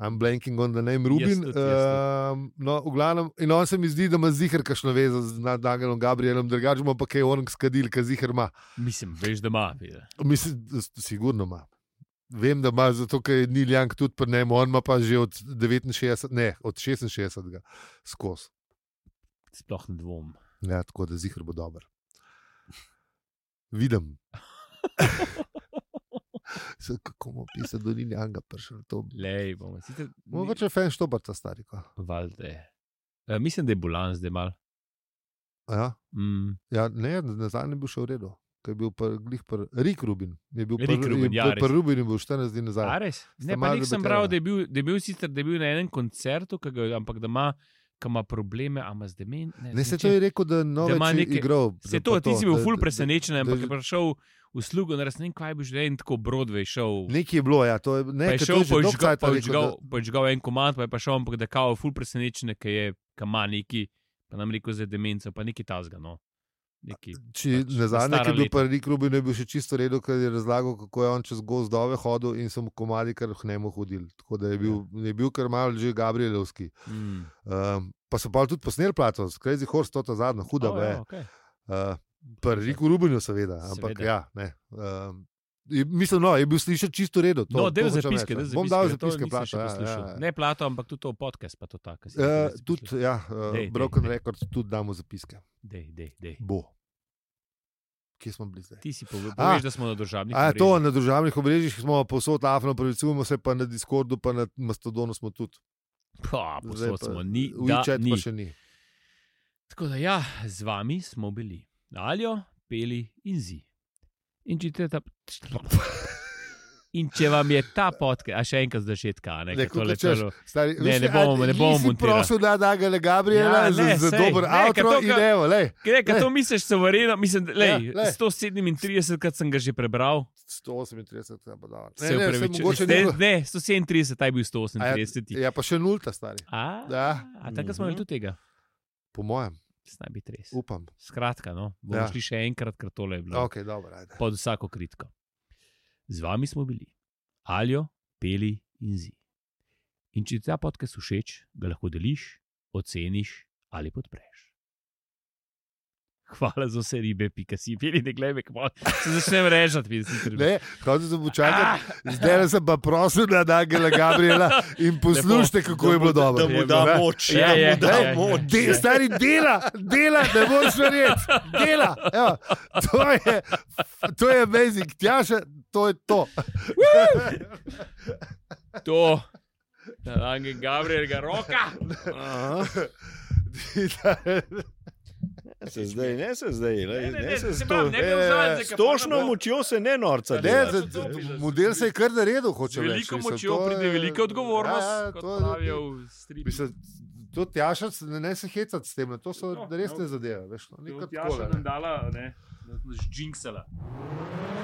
[SPEAKER 3] I'm blanking on the name Rubin.
[SPEAKER 4] Jaz tudi, jaz
[SPEAKER 3] Um, no, v glavnem, in on se mi zdi, da ima zihar kašno vezo z nad Angelom Gabrielom, drugače ima pa kaj orang skadil, ki zihar ima.
[SPEAKER 4] Mislim, veš, da ima. je.
[SPEAKER 3] Mislim, da s- sigurno ima. Vem, da ima, zato ker je Neil Young tudi pri njemu, on ima pa že od 69, ne, od 66 skozi.
[SPEAKER 4] Sploh ne dvom.
[SPEAKER 3] Ja, tako da zihar bo dober.
[SPEAKER 4] <laughs>
[SPEAKER 3] Vidim. <laughs> Se, Kako mu pisa, do Neil Younga prišel, to
[SPEAKER 4] Lej, bomo sicer.
[SPEAKER 3] Mogoče je fajn štoparca starika.
[SPEAKER 4] Valde. E, mislim, da je bolan zdaj mal.
[SPEAKER 3] Ja?
[SPEAKER 4] Mm.
[SPEAKER 3] Ja, ne, nazadnje je bil še v redu. Ker je bil pr, glih pr, Rik Rubin. Je bil
[SPEAKER 4] Rick Rubin, ja, res.
[SPEAKER 3] pr Rubin je bil 14 dni
[SPEAKER 4] A
[SPEAKER 3] nazaj.
[SPEAKER 4] res?
[SPEAKER 3] Sta
[SPEAKER 4] Ne, pa
[SPEAKER 3] malo
[SPEAKER 4] nek sem
[SPEAKER 3] debatirala.
[SPEAKER 4] bral, da je bil, da je bil sicer da je bil na enem koncertu, ki ga, ampak da ima, ki ima probleme, a ima z demen.
[SPEAKER 3] Ne, se to je rekel, da nove
[SPEAKER 4] ima
[SPEAKER 3] neke...
[SPEAKER 4] neke-
[SPEAKER 3] igral.
[SPEAKER 4] Se
[SPEAKER 3] pa
[SPEAKER 4] to, ti si bil
[SPEAKER 3] da-
[SPEAKER 4] ful
[SPEAKER 3] da-
[SPEAKER 4] presenečen,
[SPEAKER 3] da-
[SPEAKER 4] ampak je prišel v slugo, ne res ne vem, kaj bi že en tako Broadway šel.
[SPEAKER 3] Nekaj je bilo, ja, to je
[SPEAKER 4] Pa
[SPEAKER 3] nekaj.
[SPEAKER 4] je šel, pa je žgal- pa je žgal- pa je žgal en komad, pa je pa šel, ampak da kao, ful presenečen, ker je kama neki, pa nam rekel za demenco, pa neki tasga, no. Neki.
[SPEAKER 3] Če
[SPEAKER 4] pač
[SPEAKER 3] ne zadnji,
[SPEAKER 4] stara
[SPEAKER 3] ki je bil
[SPEAKER 4] leta.
[SPEAKER 3] pa Rik Rubin, je bil še čisto redo, ker je razlagal, kako je on čez gozdove hodil in so mu komadi kar hnemo hodili. Tako da je bil, je bil kar malo že Gabrielovski.
[SPEAKER 4] Mm.
[SPEAKER 3] Um, pa so pa tudi posneli plato, Crazy Horse, to ta zadnja, huda.
[SPEAKER 4] O,
[SPEAKER 3] Oh,
[SPEAKER 4] ja,
[SPEAKER 3] ja.
[SPEAKER 4] okej.
[SPEAKER 3] Uh, Riku Rubinu, seveda, ampak seveda. ja.
[SPEAKER 4] Seveda.
[SPEAKER 3] Ne, um, je, mislim, no, je bil slišati čisto redo. To,
[SPEAKER 4] No,
[SPEAKER 3] to
[SPEAKER 4] del
[SPEAKER 3] hočem
[SPEAKER 4] zapiske,
[SPEAKER 3] reči,
[SPEAKER 4] del
[SPEAKER 3] ja.
[SPEAKER 4] zapiske.
[SPEAKER 3] Bom dal
[SPEAKER 4] ja, to
[SPEAKER 3] zapiske,
[SPEAKER 4] nisem še
[SPEAKER 3] plato. Ja, ja,
[SPEAKER 4] poslušal.
[SPEAKER 3] ja.
[SPEAKER 4] Ne plato, ampak tudi to podcast, pa to tako.
[SPEAKER 3] Uh, tudi, ja, uh,
[SPEAKER 4] Dej, dej,
[SPEAKER 3] Broken
[SPEAKER 4] dej.
[SPEAKER 3] Records, tudi damo zapiske.
[SPEAKER 4] Dej, dej, dej.
[SPEAKER 3] Bo. Kje smo bili zdaj?
[SPEAKER 4] Ti si
[SPEAKER 3] A,
[SPEAKER 4] povedal, poveš, da smo na državnih.
[SPEAKER 3] Ah. A, ja, to
[SPEAKER 4] omrežjih.
[SPEAKER 3] na družbenih omrežjih smo posod afno, pravičujemo se pa na Discordu, pa na Mastodonu smo tudi.
[SPEAKER 4] Pa,
[SPEAKER 3] Zdaj
[SPEAKER 4] posod
[SPEAKER 3] pa
[SPEAKER 4] smo, ni, da,
[SPEAKER 3] WeChat
[SPEAKER 4] ni.
[SPEAKER 3] pa še ni.
[SPEAKER 4] Tako da, ja, z vami smo bili Aljo, Peli in Zi. In če, te ta... in če vam je ta podcast, a še enkrat začetka, ne,
[SPEAKER 3] Ne,
[SPEAKER 4] ne, tole,
[SPEAKER 3] kako češ,
[SPEAKER 4] tole,
[SPEAKER 3] Stari,
[SPEAKER 4] Ne, ne bomo- ne bomo montirali.
[SPEAKER 3] Prosim, da da ga Gabriela
[SPEAKER 4] Ja,
[SPEAKER 3] ja,
[SPEAKER 4] ne,
[SPEAKER 3] za, za
[SPEAKER 4] sej,
[SPEAKER 3] dober
[SPEAKER 4] ne, ker
[SPEAKER 3] avtor
[SPEAKER 4] to,
[SPEAKER 3] in
[SPEAKER 4] kar-
[SPEAKER 3] evo, lej.
[SPEAKER 4] Kaj,
[SPEAKER 3] Ne.
[SPEAKER 4] kaj to misliš, sovereno? Mislim, da, lej,
[SPEAKER 3] Ja, lej.
[SPEAKER 4] 137 krat sem ga že prebral,
[SPEAKER 3] 138 je pa dal.
[SPEAKER 4] se upravičujem. Ne, ne, 137, taj je bil 138.
[SPEAKER 3] Ja, pa še nulta, stari.
[SPEAKER 4] A,
[SPEAKER 3] Ja.
[SPEAKER 4] a takrat smo imeli
[SPEAKER 5] Mhm.
[SPEAKER 4] tudi tega.
[SPEAKER 3] Po mojem.
[SPEAKER 4] naj bi res.
[SPEAKER 3] Upam.
[SPEAKER 4] Skratka, no, bomo
[SPEAKER 3] Ja.
[SPEAKER 4] ja. šli še enkrat, ker tole je
[SPEAKER 5] No.
[SPEAKER 4] bilo.
[SPEAKER 3] Okay, dobro, ajde.
[SPEAKER 4] Pod vsako kritiko. Z vami smo bili, alijo, peli in zi. In če ti ta podcast všeč, ga lahko deliš, oceniš ali podpreš. Hvala za vse ribe, pika si, peli ne glebe, kmo. Se začnem režati, pika si.
[SPEAKER 3] Ne, hodil sem počakati,
[SPEAKER 5] Ah!
[SPEAKER 3] zdaj sem pa prosil na Dagela Gabriela in poslušajte, kako je bilo dobro.
[SPEAKER 5] Da mu da
[SPEAKER 3] Ne?
[SPEAKER 5] moč,
[SPEAKER 4] Ja,
[SPEAKER 5] da
[SPEAKER 4] ja,
[SPEAKER 5] mu da
[SPEAKER 4] ja,
[SPEAKER 5] moč.
[SPEAKER 3] De, stari dela, dela, ne moreš verjeti, dela. Evo, to, je, to je amazing, tjaša, to je to.
[SPEAKER 4] To. Angel Gabriel, ga roka.
[SPEAKER 5] Se zdaj, ne se zdaj, le, ne, ne, ne, se
[SPEAKER 4] se
[SPEAKER 5] sto,
[SPEAKER 4] pravi, ne E,
[SPEAKER 5] ne,
[SPEAKER 4] gre
[SPEAKER 3] ne, ne,
[SPEAKER 4] vzati.
[SPEAKER 5] s točno močjo se ne
[SPEAKER 3] Ne,
[SPEAKER 5] norca dela.
[SPEAKER 3] za, model se je kar naredil, hoče
[SPEAKER 4] Če
[SPEAKER 3] reči.
[SPEAKER 4] veliko
[SPEAKER 3] mislim,
[SPEAKER 4] močjo
[SPEAKER 3] to
[SPEAKER 4] pride
[SPEAKER 3] je-
[SPEAKER 4] velika odgovornost,
[SPEAKER 3] Ja, ja,
[SPEAKER 4] kot
[SPEAKER 3] to je-
[SPEAKER 4] pravijo v stripu.
[SPEAKER 3] Mislim, to tjaša, se ne, ne se hecati s tem, to so
[SPEAKER 4] No,
[SPEAKER 3] resne
[SPEAKER 4] no.
[SPEAKER 3] zadeve. Veš, no, nekaj
[SPEAKER 4] Ja, še
[SPEAKER 3] takole,
[SPEAKER 4] nam
[SPEAKER 3] ne.
[SPEAKER 4] dala, ne, da nas džinksala.